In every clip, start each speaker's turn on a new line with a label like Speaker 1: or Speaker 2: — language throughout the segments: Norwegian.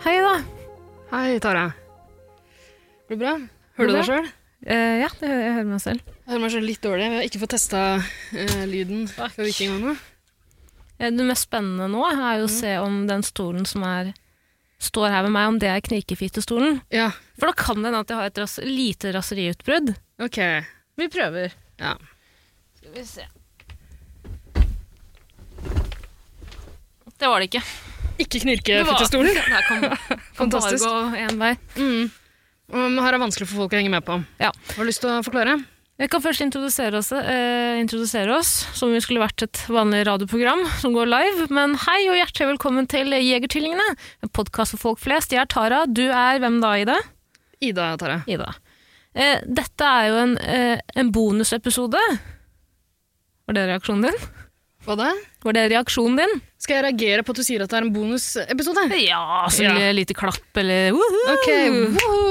Speaker 1: Hei, da.
Speaker 2: Hei, Tara. Går det bra?
Speaker 1: Går
Speaker 2: Hører du
Speaker 1: det
Speaker 2: deg sjøl?
Speaker 1: Eh, ja, det, jeg hører meg selv.
Speaker 2: Jeg hører meg sjøl litt dårlig. Vi har ikke fått testa eh, lyden
Speaker 1: Fuck.
Speaker 2: fra vikingene.
Speaker 1: Eh, Det mest spennende nå er jo å se om den stolen som er, står her med meg, om det er knirkefittestolen.
Speaker 2: Ja,
Speaker 1: For da kan det hende at jeg har et ras lite raseriutbrudd.
Speaker 2: OK.
Speaker 1: Vi prøver.
Speaker 2: Ja.
Speaker 1: Skal vi se. Det var det ikke. Det
Speaker 2: Ikke
Speaker 1: var-
Speaker 2: knirkefittestolen.
Speaker 1: Det her kan, kan bare
Speaker 2: Fantastisk.
Speaker 1: gå én vei.
Speaker 2: Mm. Um, her er vanskelig for folk å henge med på.
Speaker 1: Ja.
Speaker 2: Har du lyst til å forklare?
Speaker 1: Jeg kan først introdusere oss, eh, introdusere oss som om vi skulle vært et vanlig radioprogram som går live. Men hei og hjertelig velkommen til Jegertvillingene, en podkast for folk flest. Jeg er Tara, du er hvem da, Ida?
Speaker 2: Ida, Tara.
Speaker 1: Ida. Eh, dette er jo en, eh, en bonusepisode. Var det reaksjonen din?
Speaker 2: Hva da?
Speaker 1: Var det reaksjonen din?
Speaker 2: Skal jeg reagere på at du sier at det er en bonusepisode?
Speaker 1: Ja, så
Speaker 2: Ja.
Speaker 1: ja. lite klapp eller woohoo.
Speaker 2: Ok, woho!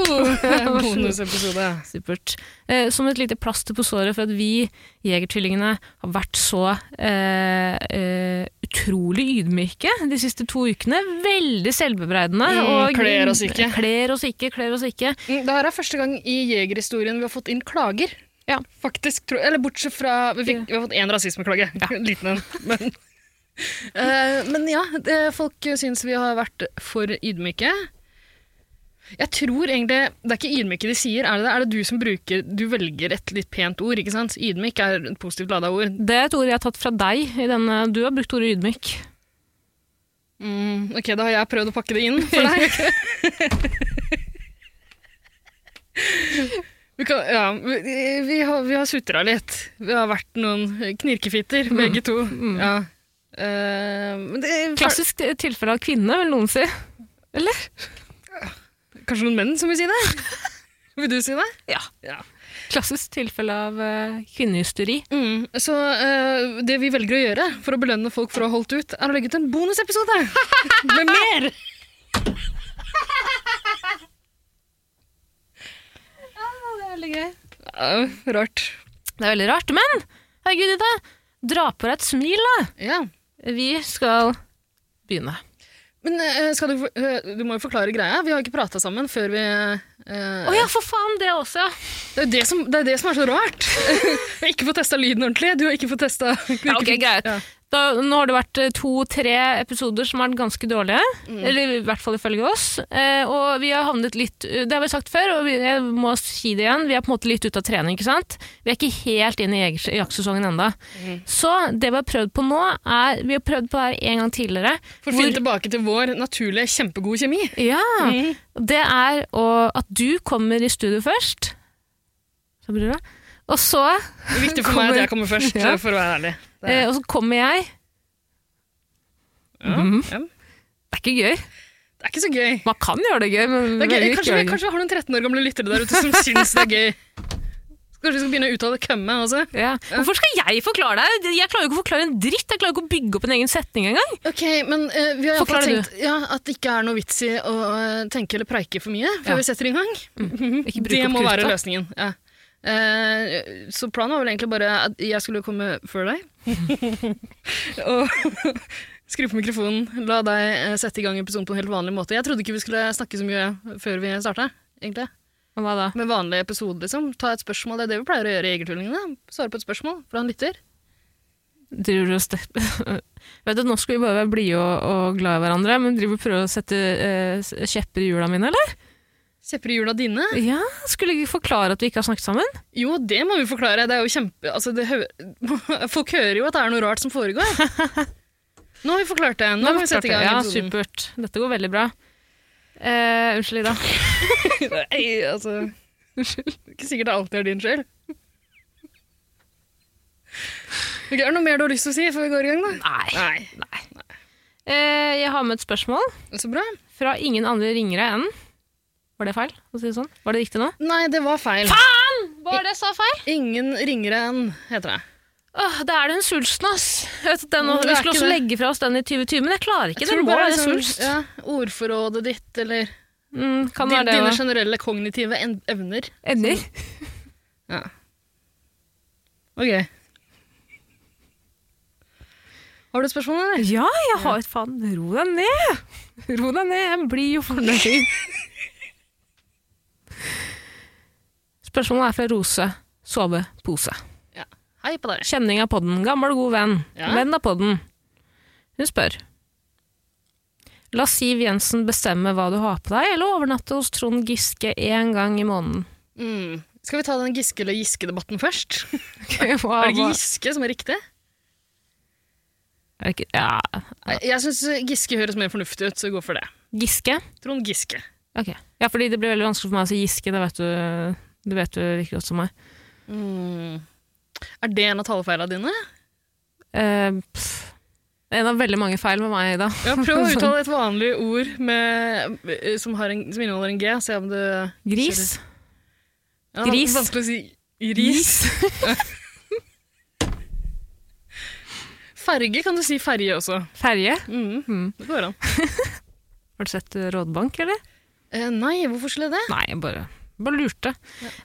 Speaker 2: bonusepisode.
Speaker 1: Supert. Eh, som et lite plaster på såret for at vi jegertvillingene har vært så eh, eh, utrolig ydmyke de siste to ukene. Veldig selvbebreidende.
Speaker 2: Mm, kler oss ikke.
Speaker 1: Kler oss ikke, kler oss ikke.
Speaker 2: Mm, Det her er første gang i jegerhistorien vi har fått inn klager.
Speaker 1: Ja.
Speaker 2: Faktisk, tror, eller bortsett fra Vi, fikk, vi har fått én rasismeklage. En Liten en. Men, Eh, men ja, det, folk syns vi har vært for ydmyke. Jeg tror egentlig Det er ikke ydmyke de sier. Er det, det? er det du som bruker Du velger et litt pent ord, ikke sant? Ydmyk er et positivt lada ord.
Speaker 1: Det er et ord jeg har tatt fra deg. I denne, du har brukt ordet ydmyk.
Speaker 2: Mm, ok, da har jeg prøvd å pakke det inn for deg. Vi, kan, ja, vi, vi har, vi har sutra litt. Vi har vært noen knirkefitter, begge to. Ja. Eh, men det er
Speaker 1: Klassisk t- tilfelle av kvinne, vil noen si. Eller?
Speaker 2: kanskje noen menn som vil si det? Vil du si det?
Speaker 1: Ja.
Speaker 2: Ja.
Speaker 1: Klassisk tilfelle av eh, kvinnehysteri.
Speaker 2: Mm, så eh, det vi velger å gjøre for å belønne folk for å ha holdt ut, er å legge ut en bonusepisode med mer!
Speaker 1: Det er veldig gøy.
Speaker 2: Ja, rart.
Speaker 1: Det er veldig rart. Men herregud, Ida, dra på deg et smil, da.
Speaker 2: Ja.
Speaker 1: Vi skal begynne.
Speaker 2: Men eh, skal du, for- eh, du må jo forklare greia. Vi har ikke prata sammen før vi eh,
Speaker 1: Å ja, for faen, det også, ja.
Speaker 2: det, er jo det, som, det er det som er så rart! Vi har ikke fått testa lyden ordentlig. Du har ikke fått testa
Speaker 1: Ja, ok, greit.
Speaker 2: Ja.
Speaker 1: Da, nå har det vært eh, to-tre episoder som har vært ganske dårlige. Eller i hvert fall ifølge oss. Eh, og vi har havnet litt Det har vi sagt før, og vi, jeg må si det igjen. Vi er på en måte litt ute av trening, ikke sant? Vi er ikke helt inn i jegers- jaktsesongen ennå. Så det vi har prøvd på nå, er Vi har prøvd på det her en gang tidligere.
Speaker 2: For å finne tilbake til vår naturlige, kjempegode kjemi.
Speaker 1: Ja,
Speaker 2: Mm.
Speaker 1: det er å, at du kommer i studio først. Så blir det. Og så,
Speaker 2: Det er viktig for meg at jeg kommer først,
Speaker 1: Ja.
Speaker 2: eh, for å være ærlig. Det
Speaker 1: eh,
Speaker 2: er,
Speaker 1: og så kommer jeg.
Speaker 2: ja. Ja.
Speaker 1: Det er ikke gøy.
Speaker 2: det er ikke så gøy.
Speaker 1: Man kan gjøre det gøy, men
Speaker 2: Det er gøy.
Speaker 1: velger ikke å
Speaker 2: Kanskje,
Speaker 1: gjøre
Speaker 2: vi,
Speaker 1: det gøy.
Speaker 2: kanskje vi har noen 13 år gamle lyttere der ute som syns det er gøy. Kanskje vi skal begynne å uttale 'kømme' også?
Speaker 1: Ja. Hvorfor skal jeg forklare deg? Jeg klarer jo ikke å forklare en dritt. Jeg klarer ikke å bygge opp en egen setning engang.
Speaker 2: Ok, men eh, vi har i hvert fall
Speaker 1: Forklarer du.
Speaker 2: tenkt ja, at det ikke er noe vits i å eh, tenke eller preike for mye før
Speaker 1: Ja.
Speaker 2: vi setter i gang.
Speaker 1: Ikke bruke
Speaker 2: Mhm. Det
Speaker 1: opp
Speaker 2: må være
Speaker 1: krutet.
Speaker 2: løsningen. Ja. Eh, så planen var vel egentlig bare at jeg skulle komme før deg. og skru på mikrofonen, la deg eh, sette i gang episoden på en helt vanlig måte. Jeg trodde ikke vi skulle snakke så mye før vi starta, egentlig.
Speaker 1: Men Hva da?
Speaker 2: Med vanlig episode, liksom. Ta et spørsmål, det er det vi pleier å gjøre i Jegertvillingene. Svare på et spørsmål fra en lytter.
Speaker 1: Driver du og ste- Vet du, Nå skal vi bare være blide og, og glad i hverandre, men driver du og prøver å sette eh, s- kjepper i hjula mine, eller?
Speaker 2: Kjepper i hjula dine?
Speaker 1: Ja, Skulle jeg ikke forklare at vi ikke har snakket sammen?
Speaker 2: Jo, det må vi forklare. Det er jo kjempe... Altså, det hø... Folk hører jo at det er noe rart som foregår. Nå har vi forklart det. Nå
Speaker 1: Nei,
Speaker 2: må vi sette i gang
Speaker 1: ja,
Speaker 2: episoden.
Speaker 1: supert. Dette går veldig bra. Eh, unnskyld, Ida.
Speaker 2: Nei, altså... Unnskyld. Ikke sikkert det alltid er din skyld. Ok, er det noe mer du har lyst til å si før vi går i gang, da?
Speaker 1: Nei.
Speaker 2: Nei.
Speaker 1: Eh, jeg har med et spørsmål
Speaker 2: Så bra.
Speaker 1: fra ingen andre ringere enn Var det feil? å si det sånn? Var det riktig nå?
Speaker 2: Nei, det var feil.
Speaker 1: Var det sa feil?
Speaker 2: Ingen ringere enn, heter det.
Speaker 1: Åh, da er det den sulsten, ass. Jeg vet at den,
Speaker 2: Mm, det
Speaker 1: vi
Speaker 2: er
Speaker 1: skulle
Speaker 2: ikke
Speaker 1: også
Speaker 2: det.
Speaker 1: legge fra oss den i 2020, men jeg klarer ikke.
Speaker 2: Jeg
Speaker 1: det
Speaker 2: tror
Speaker 1: må
Speaker 2: bare
Speaker 1: være
Speaker 2: sånn-
Speaker 1: sulst.
Speaker 2: Ja, ordforrådet ditt, eller
Speaker 1: Mm, kan
Speaker 2: din,
Speaker 1: være det,
Speaker 2: dine
Speaker 1: da.
Speaker 2: generelle kognitive en- evner.
Speaker 1: Ender?
Speaker 2: Ja. Ok. Har du et spørsmål, eller?
Speaker 1: Ja, jeg har et faen. Ro deg ned! Ro deg ned, jeg blir jo fornøyd. Spørsmålet er fra Rose. Sove. Pose.
Speaker 2: Hei på deg.
Speaker 1: Kjenning av podden. Gammel, god venn.
Speaker 2: Ja.
Speaker 1: Venn av podden. Hun spør. La Siv Jensen bestemme hva du har på deg, eller overnatte hos Trond Giske én gang i måneden.
Speaker 2: Mm. Skal vi ta den Giske eller Giske-debatten først?
Speaker 1: hva,
Speaker 2: Er det
Speaker 1: hva-
Speaker 2: Giske som er riktig?
Speaker 1: Er det ikke- Ja.
Speaker 2: Jeg, jeg syns Giske høres mer fornuftig ut, så vi går for det.
Speaker 1: Giske?
Speaker 2: Trond Giske.
Speaker 1: Ok. Ja, fordi det blir veldig vanskelig for meg å si Giske, det vet du, det vet du like godt som meg. Mm.
Speaker 2: Er det en av talefeilene dine?
Speaker 1: Eh, pff. Det er en av veldig mange feil med meg, Ida.
Speaker 2: Ja, prøv å uttale et vanlig ord med, eh, som, har en, som inneholder en G. Se om du
Speaker 1: Gris.
Speaker 2: Ja, det er
Speaker 1: Gris.
Speaker 2: Vanskelig å si ris. Ferge kan du si ferge også.
Speaker 1: Ferje.
Speaker 2: Mm.
Speaker 1: Mm.
Speaker 2: Det går an.
Speaker 1: Har du sett eh, Rådbank, eller?
Speaker 2: Eh, nei, hvorfor skulle jeg det?
Speaker 1: Nei, jeg bare, bare lurte.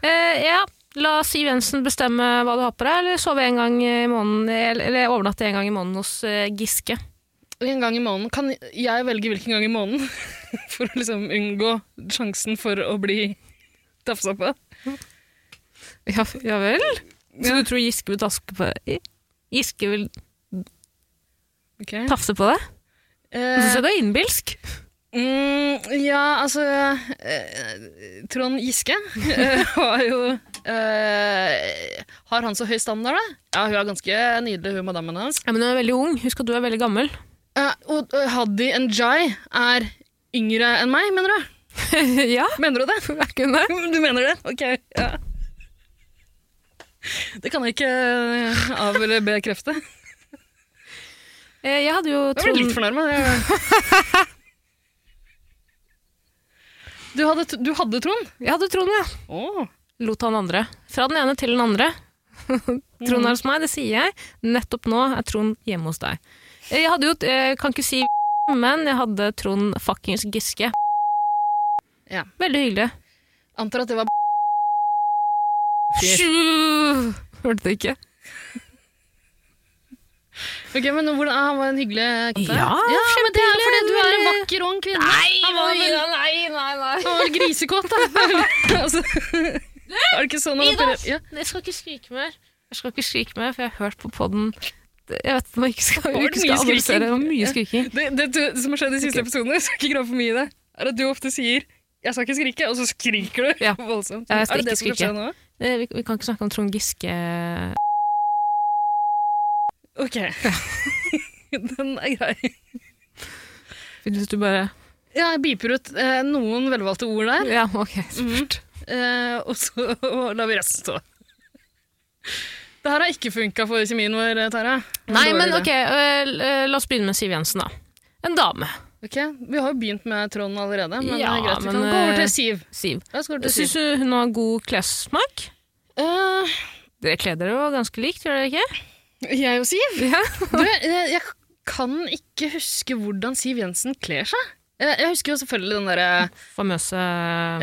Speaker 1: Eh, ja, la Siv Jensen bestemme hva du har på deg, eller sove en gang i måneden, eller, eller overnatte en gang i måneden hos eh, Giske.
Speaker 2: En gang i måneden. Kan jeg velge hvilken gang i måneden? For å liksom unngå sjansen for å bli tafsa på.
Speaker 1: Ja, vel? Så du tror Giske vil taske på Giske vil
Speaker 2: Ok.
Speaker 1: tafse på deg? Du
Speaker 2: Eh,
Speaker 1: syns jeg du er innbilsk?
Speaker 2: mm, ja, altså eh, Trond Giske eh, har jo eh, Har han så høy standard, da? Ja, hun er ganske nydelig, hun madammen hans.
Speaker 1: Ja, men du er veldig ung. Husk at du er veldig gammel.
Speaker 2: Eh, og og Haddy Njay er yngre enn meg, mener du?
Speaker 1: ja,
Speaker 2: Mener du det?
Speaker 1: jeg kunne.
Speaker 2: Du mener det? Ok, ja. Det kan jeg ikke eh, av- eller bekrefte.
Speaker 1: Eh, jeg hadde jo
Speaker 2: Jeg ble litt
Speaker 1: Trond
Speaker 2: fornærma. Du hadde, t- du hadde Trond?
Speaker 1: Jeg hadde Trond, ja.
Speaker 2: Åh.
Speaker 1: Lot han andre. Fra den ene til den andre. Trond er hos meg, det sier jeg. Nettopp nå er Trond hjemme hos deg. Eh, Jeg hadde jo, eh, kan ikke si men jeg hadde Trond fuckings Giske.
Speaker 2: Ja.
Speaker 1: Veldig hyggelig.
Speaker 2: Antar at det var Fyr.
Speaker 1: Sju! Hørte det ikke?
Speaker 2: Ok, men hvordan, Han var en hyggelig katt?
Speaker 1: Ja,
Speaker 2: men det er fordi du er en
Speaker 1: veldig-
Speaker 2: vakker ung kvinne. han var, vel,
Speaker 1: nei, nei, nei.
Speaker 2: han var grisekåt, da. altså, er det ikke sånn han
Speaker 1: Ida!
Speaker 2: opererer? Ja.
Speaker 1: Jeg skal ikke skrike mer. Jeg skal ikke skrike mer, for jeg har hørt på podden. Jeg vet at man ikke skal,
Speaker 2: Det var
Speaker 1: ikke
Speaker 2: mye
Speaker 1: skal
Speaker 2: skriking.
Speaker 1: analysere. Det var mye skriking.
Speaker 2: Det, det, du- som har skjedd i siste episode, jeg skal ikke grave for mye i det, er at du ofte sier 'jeg skal ikke skrike', og så skriker du
Speaker 1: Ja.
Speaker 2: voldsomt.
Speaker 1: Ja, jeg skal
Speaker 2: er det det
Speaker 1: ikke
Speaker 2: som skal
Speaker 1: skrike.
Speaker 2: skje nå?
Speaker 1: Eh, Vi, vi kan ikke snakke om Trond Giske.
Speaker 2: Ok. Den er grei.
Speaker 1: Hvis du bare
Speaker 2: Ja, jeg biper ut eh, noen velvalgte ord der,
Speaker 1: Ja, ok. Supert.
Speaker 2: eh, og så lar vi resten stå. Det her har ikke funka for kjemien vår, eh, Tara. Det var
Speaker 1: Nei,
Speaker 2: en dårlig
Speaker 1: men
Speaker 2: idé.
Speaker 1: ok, øh, l- øh, la oss begynne med Siv Jensen, da. En dame.
Speaker 2: Ok, Vi har jo begynt med Trond allerede, men det
Speaker 1: Ja,
Speaker 2: er greit. Vi
Speaker 1: men,
Speaker 2: kan gå over
Speaker 1: eh,
Speaker 2: til Siv.
Speaker 1: Siv.
Speaker 2: La oss gå over til
Speaker 1: Syns
Speaker 2: Siv.
Speaker 1: du hun har god klessmak?
Speaker 2: Eh,
Speaker 1: Dere kler dere jo ganske likt, gjør dere ikke?
Speaker 2: jeg og Siv?
Speaker 1: Ja.
Speaker 2: Du, eh, jeg kan ikke huske hvordan Siv Jensen kler seg. Eh, Jeg husker jo selvfølgelig den derre
Speaker 1: Famøse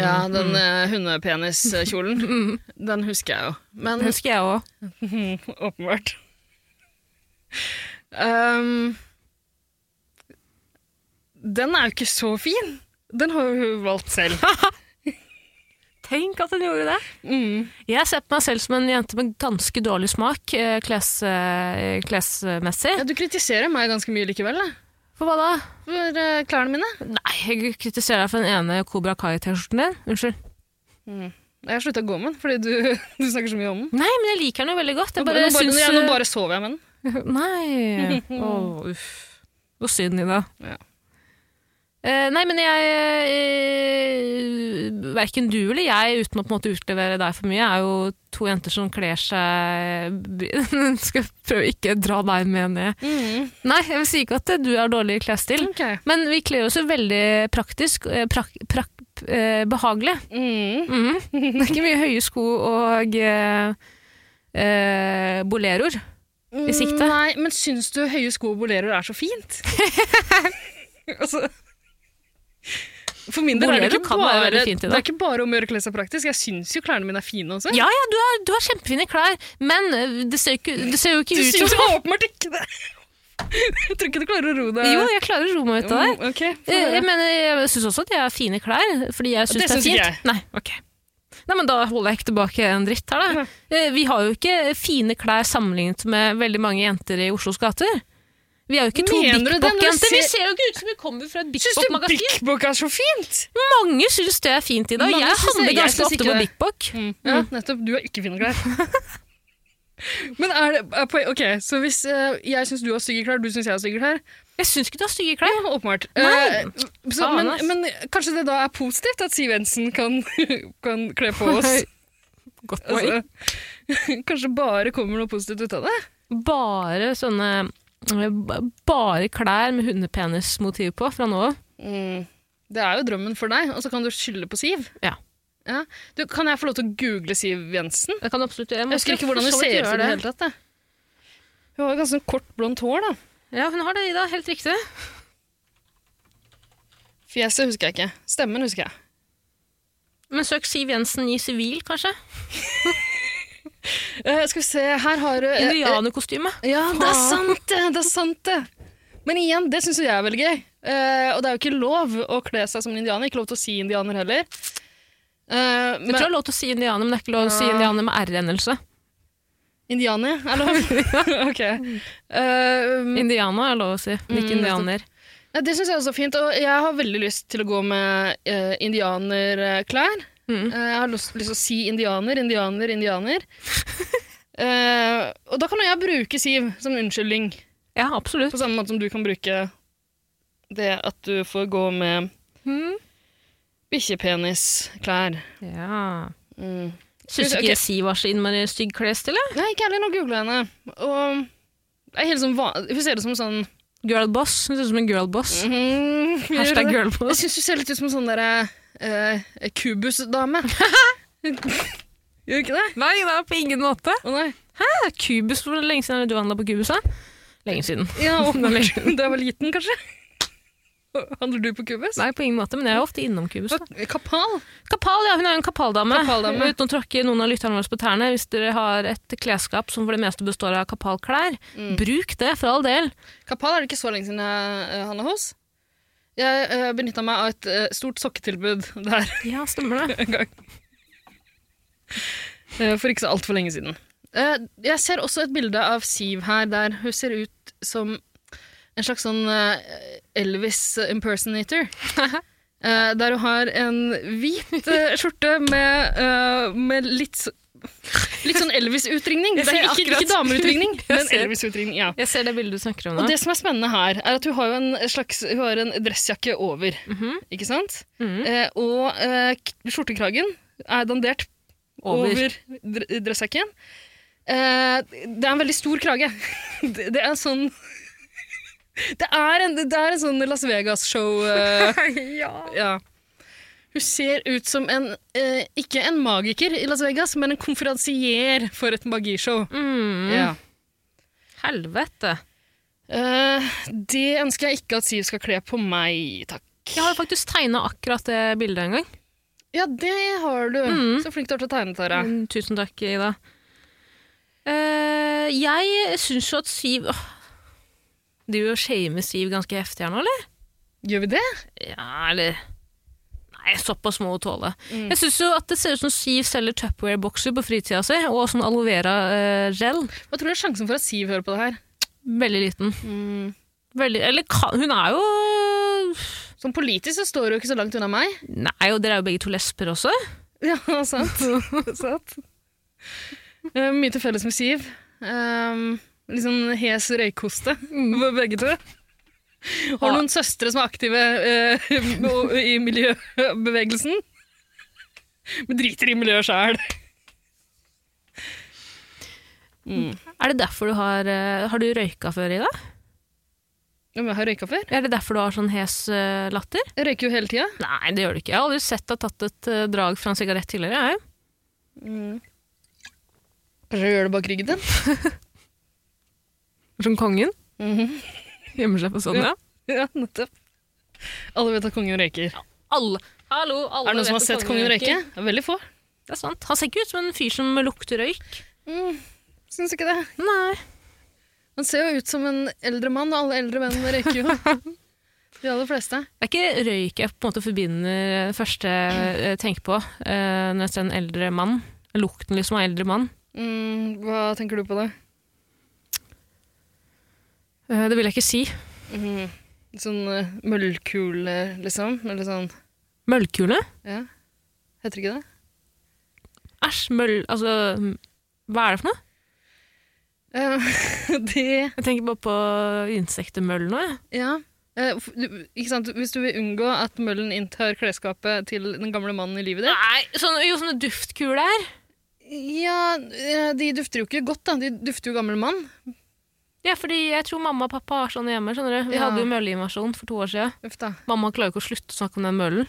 Speaker 2: ja, den eh, hundepeniskjolen.
Speaker 1: Mm.
Speaker 2: Den husker jeg jo. Men
Speaker 1: Den husker jeg òg.
Speaker 2: åpenbart. Ehm, den er jo ikke så fin. Den har jo hun valgt selv.
Speaker 1: Tenk at hun gjorde det!
Speaker 2: Mm.
Speaker 1: Jeg ser på meg selv som en jente med ganske dårlig smak eh, kles, eh, klesmessig.
Speaker 2: Ja, du kritiserer meg ganske mye likevel, da.
Speaker 1: For hva da?
Speaker 2: For eh, klærne mine.
Speaker 1: Nei, jeg kritiserer deg for den ene Kobra Kai-T-skjorten din. Unnskyld.
Speaker 2: Jeg har slutta å gå med den fordi du, du snakker så mye om den.
Speaker 1: Nei, men jeg liker den jo veldig godt.
Speaker 2: Nå
Speaker 1: Jeg bare
Speaker 2: bare,
Speaker 1: eh,
Speaker 2: nå, bare,
Speaker 1: syns
Speaker 2: nå- nå bare sover jeg med den.
Speaker 1: Nei. Å, uff. Så synd, Ida.
Speaker 2: Ja.
Speaker 1: Eh, nei, men jeg uh, Verken du eller jeg, uten å på en måte utlevere deg for mye, er jo to jenter som kler seg Skal prøve ikke å dra deg med ned. Nei, jeg vil si ikke at eh, du er dårlig i klesstil,
Speaker 2: Ok.
Speaker 1: men vi kler oss jo veldig praktisk. eh, Prak, prak, eh, behagelig.
Speaker 2: Mm.
Speaker 1: Mhm. Det er ikke mye høye sko og eh, eh, boleroer. I sikte.
Speaker 2: Mm, Nei, men syns du høye sko og boleroer er så fint? altså For min del er
Speaker 1: Bolero
Speaker 2: det ikke
Speaker 1: kan være
Speaker 2: bare,
Speaker 1: veldig fint i
Speaker 2: det
Speaker 1: dag.
Speaker 2: er ikke bare om å gjøre klær seg praktisk. Jeg syns jo klærne mine er fine også.
Speaker 1: Ja, ja, du har, du har kjempefine klær, men eh, det ser, jo ikke, det ser jo ikke
Speaker 2: Du
Speaker 1: ut
Speaker 2: syns
Speaker 1: som
Speaker 2: jo åpenbart ikke det! jeg tror ikke du klarer å ro deg
Speaker 1: Jo, jeg klarer å roe meg ut av det.
Speaker 2: Mm, ok,
Speaker 1: Eh,
Speaker 2: få høre.
Speaker 1: Jeg, mener, jeg syns også at jeg har fine klær, fordi jeg syns
Speaker 2: Det
Speaker 1: det, er
Speaker 2: syns
Speaker 1: fint.
Speaker 2: ikke jeg.
Speaker 1: Nei, ok. Nei, men Da holder jeg ikke tilbake en dritt her, da. Eh, Vi har jo ikke fine klær sammenlignet med veldig mange jenter i Oslos gater. Vi er jo ikke to
Speaker 2: Mener
Speaker 1: Bik
Speaker 2: du det når du
Speaker 1: Bok-jenter. Vi
Speaker 2: ser-
Speaker 1: ser jo ikke ut som vi kommer fra et Bik
Speaker 2: Syns du
Speaker 1: Bok-magasin.
Speaker 2: Bik Bok er så fint?
Speaker 1: Mange syns det er fint i dag.
Speaker 2: Mange
Speaker 1: jeg
Speaker 2: syns det-
Speaker 1: handler
Speaker 2: jeg
Speaker 1: ganske
Speaker 2: syns
Speaker 1: ofte
Speaker 2: ikke
Speaker 1: på
Speaker 2: det.
Speaker 1: Bik Bok.
Speaker 2: Ja,
Speaker 1: Mm.
Speaker 2: nettopp. Du har ikke fine klær. Men er det er poen- Ok, så hvis eh, jeg syns du har stygge klær, du syns jeg har stygge klær
Speaker 1: Jeg syns ikke du har stygge klær.
Speaker 2: Ja, Åpenbart.
Speaker 1: Nei,
Speaker 2: Eh, så,
Speaker 1: faen,
Speaker 2: men,
Speaker 1: ass.
Speaker 2: men kanskje det da er positivt at Siv Jensen kan, kan kle på oss?
Speaker 1: Godt poeng.
Speaker 2: Altså, kanskje bare kommer noe positivt ut av det?
Speaker 1: Bare sånne eh, bare klær med hundepenismotiv på fra nå av.
Speaker 2: Det er jo drømmen for deg, og så kan du skylde på Siv.
Speaker 1: Mm. Ja.
Speaker 2: Ja. Du, kan jeg få lov til å google Siv Jensen?
Speaker 1: Jeg kan absolutt gjøre.
Speaker 2: Jeg husker ikke hvordan hun ser ut i det hele tatt. jeg. Hun har jo ganske sånn kort, blondt hår. da.
Speaker 1: Ja, hun har det, Ida. Helt riktig.
Speaker 2: Fjeset husker jeg ikke. Stemmen husker jeg.
Speaker 1: Men søk Siv Jensen i sivil, kanskje?
Speaker 2: Eh, skal vi se, her har du eh,
Speaker 1: Indianerkostyme.
Speaker 2: eh, Ja, det er
Speaker 1: Faen.
Speaker 2: sant, det! Det er sant, det. Men igjen, det syns jo jeg er veldig gøy. Eh, og det er jo ikke lov å kle seg som en indianer. Ikke lov til å si indianer heller. Eh,
Speaker 1: Jeg tror
Speaker 2: men
Speaker 1: jeg har lov til å si indianer, men det er ikke lov til å si indianer med r-endelse.
Speaker 2: indianer er lov. ok. Eh,
Speaker 1: Indiana er lov å si, men ikke
Speaker 2: Mm,
Speaker 1: indianer.
Speaker 2: Ja, det syns jeg også er fint. Og jeg har veldig lyst til å gå med eh, indianerklær.
Speaker 1: Mm.
Speaker 2: Eh, jeg har lyst, lyst til å si indianer, indianer, indianer. Eh, og da kan jo jeg bruke Siv som unnskyldning,
Speaker 1: Ja, absolutt.
Speaker 2: på samme måte som du kan bruke det at du får gå med
Speaker 1: Mm.
Speaker 2: bikkjepenisklær.
Speaker 1: Ja.
Speaker 2: Mm.
Speaker 1: Syns
Speaker 2: Ok.
Speaker 1: ikke Siv var så innmari stygg klesstil? jeg?
Speaker 2: Nei, ikke heller. Nå googler jeg henne. Og det er helt sånn van Hun ser ut som sånn
Speaker 1: Girlboss. Hun ser ut som en girlboss.
Speaker 2: mm,
Speaker 1: Hashtag
Speaker 2: Jeg
Speaker 1: girlboss.
Speaker 2: syns du ser litt ut som en sånn derre eh, kubusdame. Gjør du ikke det?
Speaker 1: Nei, da, på ingen måte.
Speaker 2: Å nei.
Speaker 1: Det er Kubus, Hvor lenge siden er det du handla på Kubus? da? Lenge siden.
Speaker 2: Ja, åpenbart. Da jeg var liten, kanskje. Handler du på kubus?
Speaker 1: Nei, på ingen måte, men jeg er ofte innom Kubus. da.
Speaker 2: Hva- Kapal?
Speaker 1: Kapal, ja. Hun er jo en kapaldame.
Speaker 2: Kapaldame.
Speaker 1: Uten å tråkke noen av lytterne våre på tærne, hvis dere har et klesskap som for det meste består av kapalklær, bruk det for all del.
Speaker 2: Kapal er det ikke så lenge siden jeg eh, handla hos. Jeg uh, benytta meg av et eh, stort sokketilbud der
Speaker 1: Ja, stemmer det.
Speaker 2: en gang. Eh, for ikke så altfor lenge siden. Eh, jeg ser også et bilde av Siv her, der hun ser ut som en slags sånn eh, Elvis impersonator. Eh, der hun har en hvit eh, skjorte med, eh, med litt, s- litt sånn Elvis-utringning.
Speaker 1: Jeg
Speaker 2: Det er
Speaker 1: ser
Speaker 2: ikke,
Speaker 1: akkurat.
Speaker 2: ikke dameutringning,
Speaker 1: Jeg
Speaker 2: men
Speaker 1: ser.
Speaker 2: Elvis-utringning. ja.
Speaker 1: Jeg ser det bildet du snakker om
Speaker 2: Og
Speaker 1: nå.
Speaker 2: det som er spennende her, er at hun har jo en slags Hun har en dressjakke over, ikke sant?
Speaker 1: Mhm.
Speaker 2: Eh, og eh, k- skjortekragen er dandert over,
Speaker 1: Over.
Speaker 2: dre- dressjakken. Eh, det er en veldig stor krage. Det, det er sånn Det er en, det er en sånn Las Vegas-show. Eh, ja. Hun ser ut som en eh, Ikke en magiker i Las Vegas, men en konferansier for et magishow.
Speaker 1: Mm,
Speaker 2: Ja.
Speaker 1: Helvete.
Speaker 2: Eh, det ønsker jeg ikke at Siv skal kle på meg, takk.
Speaker 1: Jeg har jo faktisk tegna akkurat det bildet en gang.
Speaker 2: Ja, det har du.
Speaker 1: Mhm.
Speaker 2: Så flink du er til å tegne, Tara.
Speaker 1: Mm, Tusen takk, Ida. Eh, jeg syns jo at Siv Åh. Du jo shamer Siv ganske heftig her nå, eller?
Speaker 2: Gjør vi det?
Speaker 1: Ja, eller Nei, såpass må hun tåle.
Speaker 2: Mm.
Speaker 1: Jeg syns jo at det ser ut som Siv selger Tupperware-bokser på fritida si, og sånn aloe vera-gel.
Speaker 2: Hva tror du er sjansen for at Siv hører på det her?
Speaker 1: Veldig liten.
Speaker 2: Mm.
Speaker 1: Veldig, eller ka- hun er jo
Speaker 2: Som politisk så står hun jo ikke så langt unna meg.
Speaker 1: Nei, og dere er jo begge to lesber også.
Speaker 2: Ja, sant. sant. Eh, mye til Eh, Mm. felles med Siv. Um, litt sånn hes røykoste, begge to. Har du noen søstre som er aktive eh, og- i miljøbevegelsen? Men driter i miljøet sjæl.
Speaker 1: Er det derfor du har eh, Har du røyka før, Ida?
Speaker 2: Ja, men jeg har røyka før.
Speaker 1: Er det derfor du har sånn hes eh, latter?
Speaker 2: Jeg røyker jo hele tida.
Speaker 1: Nei, det gjør du ikke. Jeg har aldri sett deg tatt et eh, drag fra en sigarett tidligere. Jeg.
Speaker 2: Kanskje jeg gjør det bak ryggen din?
Speaker 1: Som kongen. Gjemmer seg på sånn, ja.
Speaker 2: Mm-hmm. Ja, nettopp. Alle vet at kongen røyker.
Speaker 1: Alle. Hallo, alle
Speaker 2: er det noen som har
Speaker 1: vet at
Speaker 2: sett kongen røyke?
Speaker 1: røyker.
Speaker 2: Det er veldig få.
Speaker 1: Det er sant. Han ser ikke ut som en fyr som lukter røyk.
Speaker 2: Mm, Syns ikke det.
Speaker 1: Nei.
Speaker 2: Han ser jo ut som en eldre mann, og alle eldre menn røyker jo. De aller fleste.
Speaker 1: Det er ikke røyk jeg på en måte forbinder det første jeg tenker på eh, når jeg ser en eldre mann. Lukten liksom av eldre mann.
Speaker 2: Mm, hva tenker du på da?
Speaker 1: Eh, det vil jeg ikke si.
Speaker 2: Sånn uh, møllkule, liksom? Eller sånn
Speaker 1: Møllkule?
Speaker 2: Ja. Heter det ikke det?
Speaker 1: Æsj, møll... Altså, m- hva er det for noe?
Speaker 2: Eh, det
Speaker 1: Jeg tenker bare på insektemøll nå, jeg.
Speaker 2: Ja. Eh, f- du- ikke sant? Hvis du vil unngå at møllen inntar klesskapet til den gamle mannen i livet ditt
Speaker 1: Nei, sånne, jo, sånne duftkuler her.
Speaker 2: Ja, eh, de dufter jo ikke godt, da. De dufter jo gammel mann.
Speaker 1: Ja, fordi jeg tror mamma og pappa har sånne hjemme, skjønner du. Vi
Speaker 2: Ja.
Speaker 1: hadde jo mølleinvasjon for to år siden.
Speaker 2: Uff da.
Speaker 1: Mamma klarer ikke å slutte å snakke om den møllen.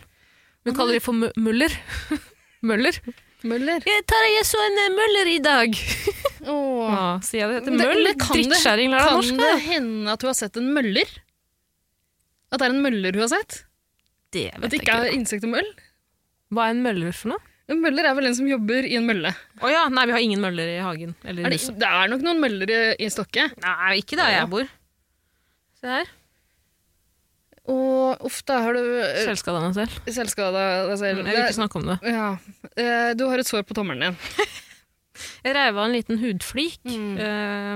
Speaker 1: Hun kaller det for mø- møller. møller?
Speaker 2: Møller.
Speaker 1: Jeg tar jeg så en eh, møller i dag.
Speaker 2: Åh.
Speaker 1: Ja, sier jeg det.
Speaker 2: Men
Speaker 1: Heter
Speaker 2: det-
Speaker 1: møll?
Speaker 2: men kan det-
Speaker 1: Drittkjerring, lær deg
Speaker 2: Kan
Speaker 1: norsk,
Speaker 2: det
Speaker 1: da.
Speaker 2: hende at du har sett en møller? At det er en møller du har sett?
Speaker 1: Det
Speaker 2: At
Speaker 1: vet
Speaker 2: det
Speaker 1: jeg
Speaker 2: ikke
Speaker 1: ikke.
Speaker 2: er insektemøll?
Speaker 1: Hva er en møller for noe?
Speaker 2: En møller er vel en som jobber i en mølle.
Speaker 1: Å ja, nei, vi har ingen møller i hagen. Eller i
Speaker 2: Er det,
Speaker 1: huset.
Speaker 2: det er nok noen møller i, i Stokke.
Speaker 1: Nei, ikke der jeg bor. Se her.
Speaker 2: Og uff, da har du eh,
Speaker 1: Selvskada meg selv. Mm,
Speaker 2: selvskada deg
Speaker 1: Jeg
Speaker 2: selv.
Speaker 1: vil ikke snakke om eh, det.
Speaker 2: Det- ja. Eh, Du har et sår på tommelen din.
Speaker 1: Jeg reiv av en liten hudflik.
Speaker 2: Mm.
Speaker 1: eh,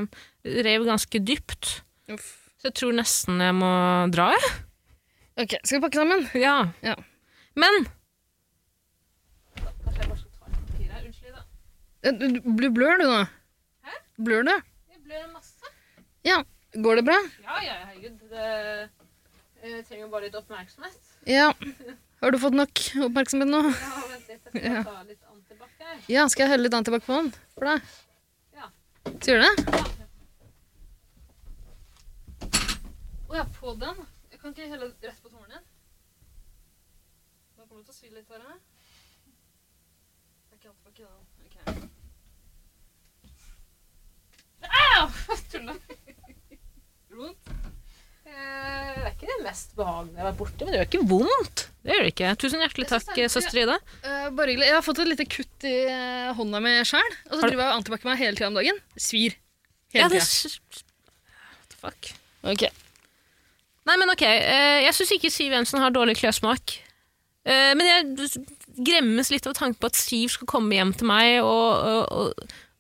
Speaker 1: rev ganske dypt.
Speaker 2: Uff.
Speaker 1: Så jeg tror nesten jeg må dra, jeg.
Speaker 2: Ok, Skal vi pakke sammen?
Speaker 1: Ja.
Speaker 2: Ja.
Speaker 1: Men
Speaker 2: Eh, Du, du- du blør, du nå. Hæ? Blør du?
Speaker 1: Jeg blør masse.
Speaker 2: Ja. Går det bra?
Speaker 1: Ja, ja, herregud. Det, jeg trenger bare litt oppmerksomhet.
Speaker 2: Ja. Har du fått nok oppmerksomhet nå?
Speaker 1: Ja, vent litt. Jeg skal ta litt antibac her.
Speaker 2: Ja, skal jeg helle litt antibac på den? For deg?
Speaker 1: Ja.
Speaker 2: Sier du det?
Speaker 1: Å ja, på den? Jeg kan ikke helle rett på tommelen din. Nå kommer det til å svile litt her. Det er ikke antibac i den. Au! Tulla. Vondt? Eh, Det er ikke det mest behagelige jeg har vært borti, men det gjør ikke vondt. Det gjør det ikke. Tusen hjertelig
Speaker 2: Jeg synes
Speaker 1: takk,
Speaker 2: det er-
Speaker 1: søster Ida.
Speaker 2: Eh, bare hyggelig. Jeg har fått et lite kutt i eh, hånda mi sjæl. Og
Speaker 1: Har
Speaker 2: så
Speaker 1: du-
Speaker 2: driver jeg og antibac meg hele tida om dagen. Svir.
Speaker 1: Ja,
Speaker 2: Hele
Speaker 1: det
Speaker 2: tida.
Speaker 1: s- What the fuck?
Speaker 2: Ok.
Speaker 1: Nei, men ok. eh, Jeg syns ikke Siv Jensen har dårlig klessmak. Eh, Men jeg gremmes litt av tanken på at Siv skal komme hjem til meg og, og, og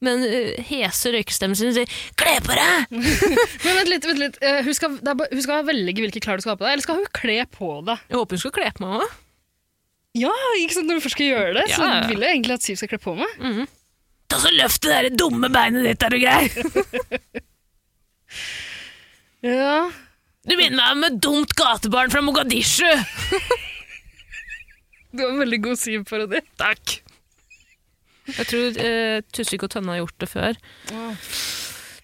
Speaker 1: med den eh, hese røykestemmen sin og si 'kle på deg'!
Speaker 2: Men vent litt, vent litt. Eh, hun, skal, det er bare, hun skal velge hvilke klær du skal ha på deg. Eller skal hun kle på deg?
Speaker 1: Jeg håper hun skal kle på meg òg.
Speaker 2: Ja, ikke sant? Når du først skal gjøre det, så
Speaker 1: Ja, Mm. ja.
Speaker 2: vil jeg egentlig at Siv skal kle på meg.
Speaker 1: Ta så Løft det der dumme beinet ditt, er du grei?
Speaker 2: Ja.
Speaker 1: Du minner meg om et dumt gatebarn fra Mogadishu!
Speaker 2: Du har en veldig god Siv-parodi.
Speaker 1: Takk. Jeg tror eh, Tusvik og Tønne har gjort det før.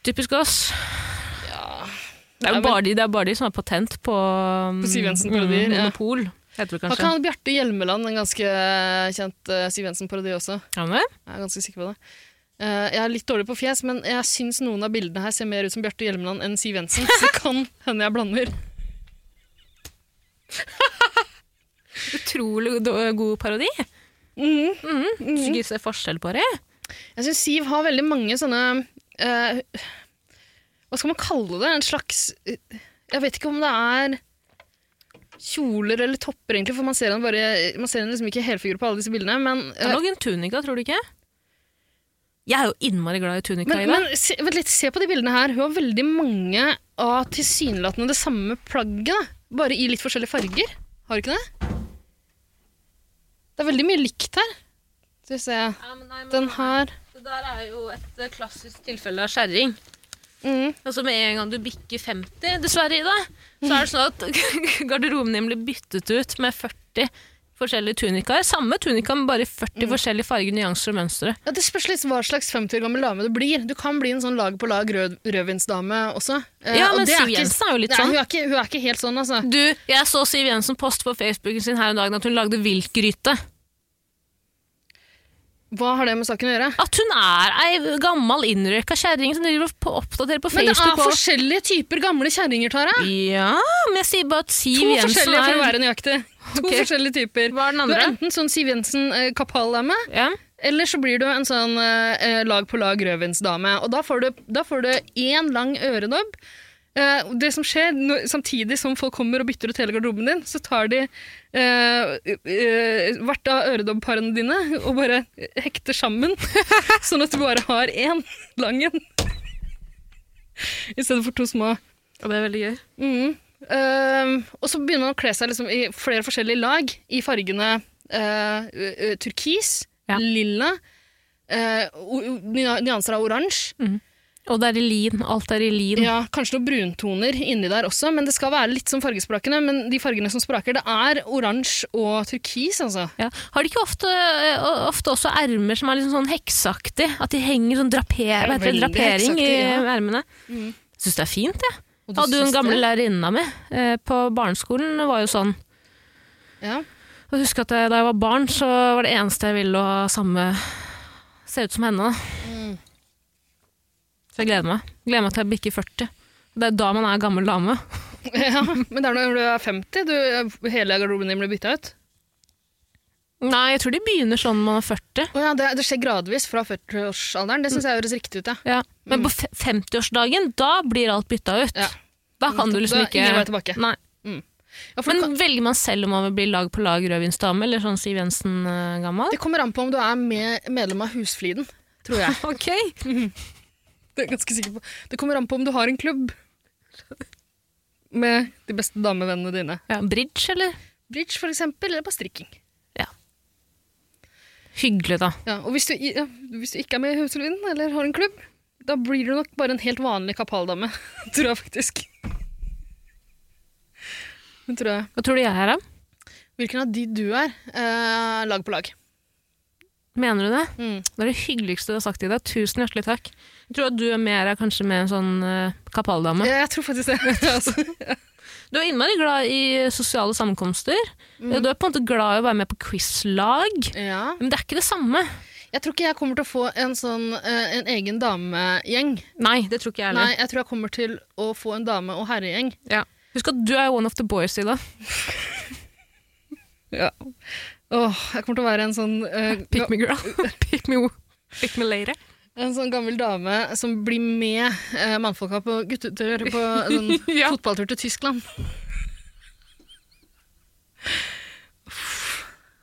Speaker 1: Typisk oss.
Speaker 2: Ja.
Speaker 1: Det er
Speaker 2: Ja,
Speaker 1: jo
Speaker 2: men-
Speaker 1: bare, de, det er bare de som har patent på, mm,
Speaker 2: På Siv Jensen-parodier,
Speaker 1: mm,
Speaker 2: ja.
Speaker 1: Monopol, heter det
Speaker 2: Har
Speaker 1: kanskje.
Speaker 2: ikke han Bjarte Hjelmeland en ganske kjent eh, Siv Jensen-parodi også?
Speaker 1: Har han det?
Speaker 2: Jeg er ganske sikker på det. Eh, jeg er litt dårlig på fjes, men jeg syns noen av bildene her ser mer ut som Bjarte Hjelmeland enn Siv Jensen. Så det kan hende jeg blander.
Speaker 1: Utrolig
Speaker 2: eh,
Speaker 1: do- god parodi.
Speaker 2: Mhm.
Speaker 1: Mm. Skal ikke se forskjell på det.
Speaker 2: Jeg syns Siv har veldig mange sånne eh, Hva skal man kalle det? En slags eh, Jeg vet ikke om det er kjoler eller topper, egentlig, for man ser henne, bare, man ser henne liksom ikke i helfigur på alle disse bildene. Men,
Speaker 1: Det
Speaker 2: eh,
Speaker 1: er nok en tunika, tror du ikke? Jeg er jo innmari glad i tunika,
Speaker 2: men,
Speaker 1: Ida.
Speaker 2: men se, vent litt, se på de bildene her. Hun har veldig mange av tilsynelatende det samme plagget, da. bare i litt forskjellige farger. Har du ikke det? Det er veldig mye likt her. Skal vi se. Den her
Speaker 1: Det der er jo et klassisk tilfelle av skjæring.
Speaker 2: Mm.
Speaker 1: Altså Med en gang du bikker 50, dessverre, Ida, så er det sånn at garderoben din blir byttet ut med 40 forskjellige tunikaer. Samme tunika, men bare i 40 forskjellige farger, nyanser og mønstre.
Speaker 2: Ja, det spørs litt hva slags 50 år gammel dame du blir. Du kan bli en sånn lag på lag rød, rødvinsdame også. Eh,
Speaker 1: Ja,
Speaker 2: og
Speaker 1: men
Speaker 2: det
Speaker 1: Siv
Speaker 2: ikke-
Speaker 1: Jensen er jo litt
Speaker 2: Nei,
Speaker 1: sånn.
Speaker 2: Hun er, ikke, hun er ikke helt sånn, altså.
Speaker 1: Du, jeg så Siv Jensen poste på Facebooken sin her en dag at hun lagde viltgryte.
Speaker 2: Hva har det med saken å gjøre?
Speaker 1: At hun er ei gammal innrøyka kjerring som driver og på- oppdaterer på
Speaker 2: Men det er
Speaker 1: Facebook. og-
Speaker 2: forskjellige typer gamle kjerringer, Tara.
Speaker 1: Ja, men jeg sier bare at Siv
Speaker 2: To
Speaker 1: Jensen
Speaker 2: forskjellige, for å
Speaker 1: er
Speaker 2: være nøyaktig. To
Speaker 1: Ok.
Speaker 2: forskjellige typer.
Speaker 1: Hva er den
Speaker 2: Du er
Speaker 1: andre?
Speaker 2: enten sånn Siv Jensen-kapall-dame,
Speaker 1: Ja.
Speaker 2: eller så blir du en sånn eh, lag på lag rødvinsdame. Og da får du, da får du én lang øredobb. Eh, og det som skjer når, Samtidig som folk kommer og bytter ut hele garderoben din, så tar de eh, eh, hvert av øredobbparene dine og bare hekter sammen, sånn at du bare har én lang en. I stedet for to små.
Speaker 1: Og det er veldig gøy.
Speaker 2: Mhm. Ehm, og så begynner man å kle seg liksom i flere forskjellige lag, i fargene eh, ø- ø, turkis,
Speaker 1: Ja.
Speaker 2: lilla, eh, o- o- nya- nyanser av oransje.
Speaker 1: Mhm. Og det er i lin. Alt er i lin.
Speaker 2: Ja, kanskje noen bruntoner inni der også, men det skal være litt som fargesprakene. Men de fargene som spraker, det er oransje og turkis, altså.
Speaker 1: Ja. Har de ikke ofte, ø, ofte også ermer som er liksom sånn hekseaktig? At de henger sånn draper,
Speaker 2: er
Speaker 1: hva heter det,
Speaker 2: veldig
Speaker 1: drapering i
Speaker 2: hekseaktig,
Speaker 1: ermene? Jeg Syns det er fint, jeg.
Speaker 2: Mm. Og
Speaker 1: Hadde jo
Speaker 2: syns
Speaker 1: en gamle
Speaker 2: det?
Speaker 1: lærerinna mi ø, på barneskolen var jo sånn.
Speaker 2: Ja.
Speaker 1: Jeg husker at jeg, da jeg var barn, så var det eneste jeg ville å ha samme Se ut som henne. da.
Speaker 2: Mm.
Speaker 1: Så jeg gleder meg. Gleder meg til jeg bikker 40. Det er da man er gammel dame.
Speaker 2: ja. Men det er når du er 50, du, eh, hele garderoben din blir bytta ut.
Speaker 1: Nei, jeg tror de begynner sånn når man er 40.
Speaker 2: Å ja, det, det skjer gradvis fra 40-årsalderen.
Speaker 1: Mm.
Speaker 2: Det syns jeg høres riktig ut, ja.
Speaker 1: Ja. Men på fe- 50-årsdagen, da blir alt bytta ut.
Speaker 2: Mm. Ja.
Speaker 1: Da kan du liksom
Speaker 2: Da er
Speaker 1: ikke
Speaker 2: ingen vei tilbake.
Speaker 1: Nei.
Speaker 2: ja for du
Speaker 1: Men velger man selv om man vil bli lag på lag rødvinsdame, eller sånn Siv Jensen-gammal?
Speaker 2: Det kommer an på om du er med, medlem av Husfliden, tror jeg.
Speaker 1: Ok.
Speaker 2: Det er jeg ganske sikker på. Det kommer an på om du har en klubb med de beste damevennene dine.
Speaker 1: Ja, bridge, eller?
Speaker 2: Bridge, for eksempel, eller bare strikking.
Speaker 1: Hyggelig, da.
Speaker 2: Ja, og hvis du, i- ja, hvis du ikke er med i Husfliden, eller har en klubb, da blir du nok bare en helt vanlig kapaldame, tror jeg faktisk. Men tror jeg.
Speaker 1: Hva tror du jeg er, da?
Speaker 2: Hvilken av de du er, eh, lag på lag.
Speaker 1: Mener du det?
Speaker 2: Mm.
Speaker 1: Det er det hyggeligste du har sagt i dag. Tusen hjertelig takk. Jeg tror at du er mer er kanskje med en sånn eh, kapalldame.
Speaker 2: Ja, jeg tror faktisk det. altså.
Speaker 1: Du er innmari glad i sosiale sammenkomster.
Speaker 2: Mm.
Speaker 1: Du er på en måte glad i å være med på quizlag.
Speaker 2: Ja.
Speaker 1: Men det er ikke det samme.
Speaker 2: Jeg tror ikke jeg kommer til å få en, sånn, eh, en egen damegjeng.
Speaker 1: Nei, det tror ikke jeg
Speaker 2: Nei,
Speaker 1: heller.
Speaker 2: jeg tror jeg kommer til å få en dame- og herregjeng.
Speaker 1: Ja. Husk at du er one of the boys, Ida.
Speaker 2: Ja. Åh, jeg kommer til å være en sånn, eh,
Speaker 1: Pick me girl. Pick me, pick me later.
Speaker 2: ga- en sånn gammel dame som blir med eh, mannfolka på guttetur på en sånn
Speaker 1: Ja.
Speaker 2: fotballtur til Tyskland.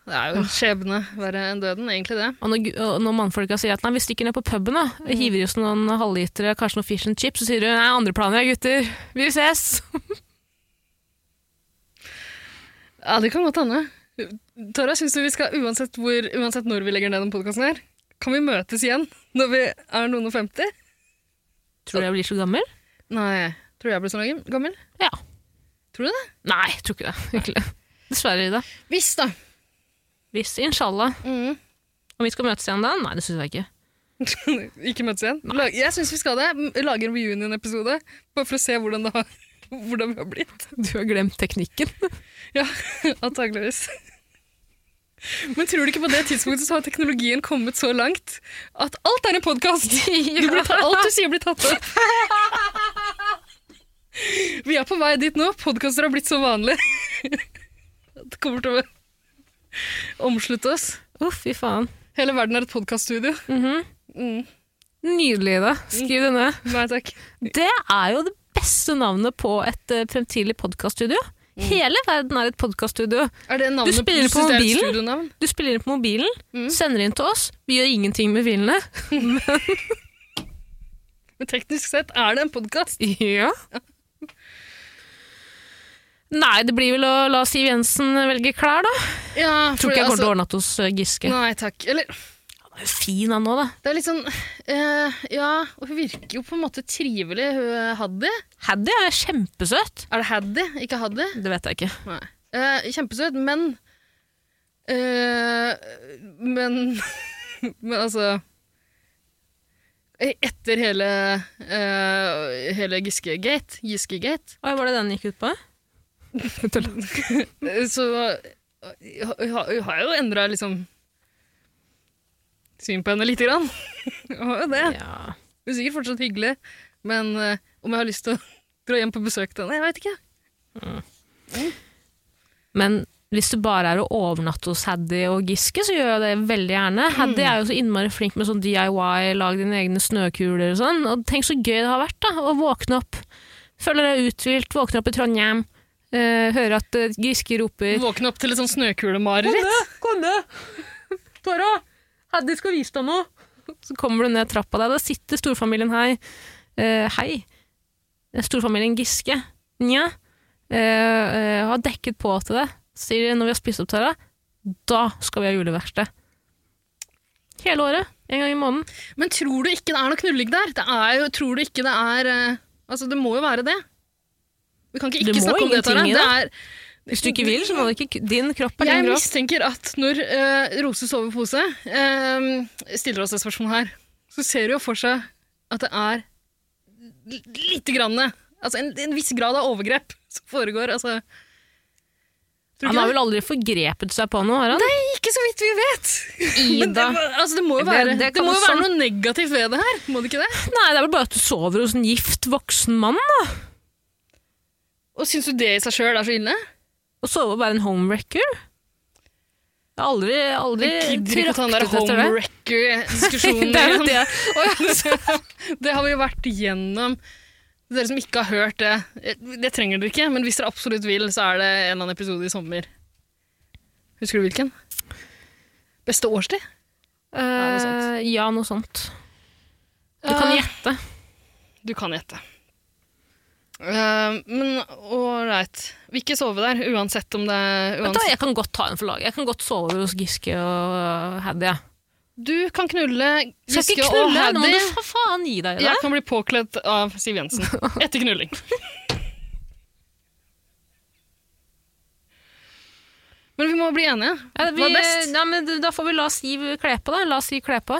Speaker 2: Det er jo en skjebne verre enn døden, egentlig det.
Speaker 1: Og når, gu- og når mannfolka sier at nei, vi stikker ned på puben, da. hiver i oss noen halvlitere, kanskje noen fish and chips, så sier du nei, andre planer, ja, gutter. Vi ses.
Speaker 2: Ja, det kan godt hende. Tara, syns du vi skal, uansett, hvor, uansett når vi legger ned den podkasten her, kan vi møtes igjen når vi er noen og femti?
Speaker 1: Tror du jeg blir så gammel?
Speaker 2: Nei. Tror du jeg blir så gammel?
Speaker 1: Ja.
Speaker 2: Tror du det?
Speaker 1: Nei, jeg tror ikke det. Virkelig. Dessverre, Ida.
Speaker 2: Hvis, da.
Speaker 1: Hvis, inshallah.
Speaker 2: Mhm.
Speaker 1: Om vi skal møtes igjen da? Nei, det syns jeg ikke.
Speaker 2: Ikke møtes igjen? Lag- Jeg syns vi skal det. M- Lage en reunion-episode. Bare for å se hvordan, det har, hvordan vi har blitt.
Speaker 1: Du har glemt teknikken.
Speaker 2: Ja, antageligvis. Men tror du ikke på det tidspunktet så har teknologien kommet så langt at alt er en podkast? Alt du sier, blir tatt opp. Vi er på vei dit nå. Podkaster har blitt så vanlig. Det kommer til å omslutte oss.
Speaker 1: Uff, fy faen.
Speaker 2: Hele verden er et podkaststudio.
Speaker 1: Mhm.
Speaker 2: Mm.
Speaker 1: Nydelig, Ida. Skriv det ned.
Speaker 2: Nei takk.
Speaker 1: Det er jo det beste navnet på et eh, fremtidig podkaststudio. Hele verden er et podkaststudio.
Speaker 2: Er det navnet
Speaker 1: spiller på
Speaker 2: synes det er et
Speaker 1: mobilen?
Speaker 2: studionavn?
Speaker 1: Du spiller inn på mobilen,
Speaker 2: Mm.
Speaker 1: sender inn til oss. Vi gjør ingenting med bilene.
Speaker 2: Men teknisk sett er det en podkast.
Speaker 1: Ja. Nei, det blir vel å la Siv Jensen velge klær, da.
Speaker 2: Ja,
Speaker 1: altså- Tror ikke jeg kommer til å ordne at hos eh, Giske.
Speaker 2: Nei takk. Eller
Speaker 1: fin han nå, da.
Speaker 2: Det er litt sånn eh, Ja, og hun virker jo på en måte trivelig, hun Haddy.
Speaker 1: Haddy er kjempesøt.
Speaker 2: Er det Haddy, ikke Haddy?
Speaker 1: Det vet jeg ikke.
Speaker 2: Nei. Eh, kjempesøt, men eh, Men Men altså Etter hele eh, Hele Giske-gate, Giske-gate,
Speaker 1: Hva var det den gikk ut på?
Speaker 2: eh, så eh, har jeg har jo endra liksom syn på henne lite grann. Jeg har jo det.
Speaker 1: Ja.
Speaker 2: Hun er sikkert fortsatt hyggelig, men eh, om jeg har lyst til å dra hjem på besøk til henne, jeg veit ikke.
Speaker 1: Men hvis det bare er å overnatte hos Haddy og Giske, så gjør jeg det veldig gjerne. Haddy er jo så innmari flink med sånn DIY, lag dine egne snøkuler og sånn. Og tenk så gøy det har vært da, å våkne opp. Føler deg uthvilt, våkne opp i Trondheim, eh, høre at eh, Giske roper
Speaker 2: Våkne opp til et sånn snøkulemareritt.
Speaker 1: Kom ned! Tara! Haddy skal vise deg noe! Så kommer du ned trappa der, da sitter storfamilien her. Eh, hei. Storfamilien Giske. Nja. Eh, eh, har dekket på til det. Sier de når vi har spist opp Tara. Da skal vi ha juleverksted. Hele året. En gang i måneden.
Speaker 2: Men tror du ikke det er noe knulling der? Det er jo, tror du ikke det er eh, Altså, det må jo være det. Vi kan ikke
Speaker 1: Det
Speaker 2: ikke
Speaker 1: må
Speaker 2: snakke om det, Tara.
Speaker 1: ingenting i
Speaker 2: Det er,
Speaker 1: Hvis du ikke vil, så må du ikke Din kropp er
Speaker 2: jeg
Speaker 1: din kropp.
Speaker 2: mistenker at når eh, Rose sover i pose, eh, stiller oss det spørsmålet her, så ser du jo for seg at det er l- lite grann Altså en, en viss grad av overgrep som foregår. Altså Tror du
Speaker 1: Han har
Speaker 2: ikke det?
Speaker 1: vel aldri forgrepet seg på noe, har han? Nei,
Speaker 2: Ikke så vidt vi vet! Men
Speaker 1: Ida.
Speaker 2: det, må- altså, det må jo
Speaker 1: Det-
Speaker 2: være, det
Speaker 1: det kan
Speaker 2: må jo
Speaker 1: også-
Speaker 2: være noe negativt ved det her, må det ikke det?
Speaker 1: Nei, det er vel bare at du sover hos en gift voksen mann, da.
Speaker 2: Og syns du det i seg sjøl er så ille?
Speaker 1: Å sove og være en homewrecker? Jeg har aldri, aldri
Speaker 2: Jeg gidder ikke å ta den der
Speaker 1: traktet etter det.
Speaker 2: homewrecker-diskusjonen
Speaker 1: Det er jo
Speaker 2: igjen.
Speaker 1: det.
Speaker 2: altså, Det har vi jo vært igjennom. Dere som ikke har hørt det, eh, det trenger dere ikke, men hvis dere absolutt vil, så er det en eller annen episode i sommer. Husker du hvilken? Beste årstid? noe sånt.
Speaker 1: Eh, ja, noe sånt. Du kan
Speaker 2: Eh,
Speaker 1: gjette.
Speaker 2: Du kan gjette. Eh, men ålreit. Vil ikke sove der, uansett om det er
Speaker 1: Vet du, hva,
Speaker 2: uansett.
Speaker 1: jeg kan godt ta en for laget. Jeg kan godt sove hos Giske og Haddy. jeg.
Speaker 2: Du kan knulle
Speaker 1: Skal
Speaker 2: Giske
Speaker 1: ikke
Speaker 2: og
Speaker 1: knulle, nå må
Speaker 2: Haddy.
Speaker 1: du for faen gi deg.
Speaker 2: Jeg
Speaker 1: Da.
Speaker 2: kan bli påkledd av Siv Jensen etter knulling. Men vi må bli enige.
Speaker 1: Ja,
Speaker 2: Hva
Speaker 1: vi,
Speaker 2: er best?
Speaker 1: nei, men da får vi la Siv kle på, da. La Siv kle på.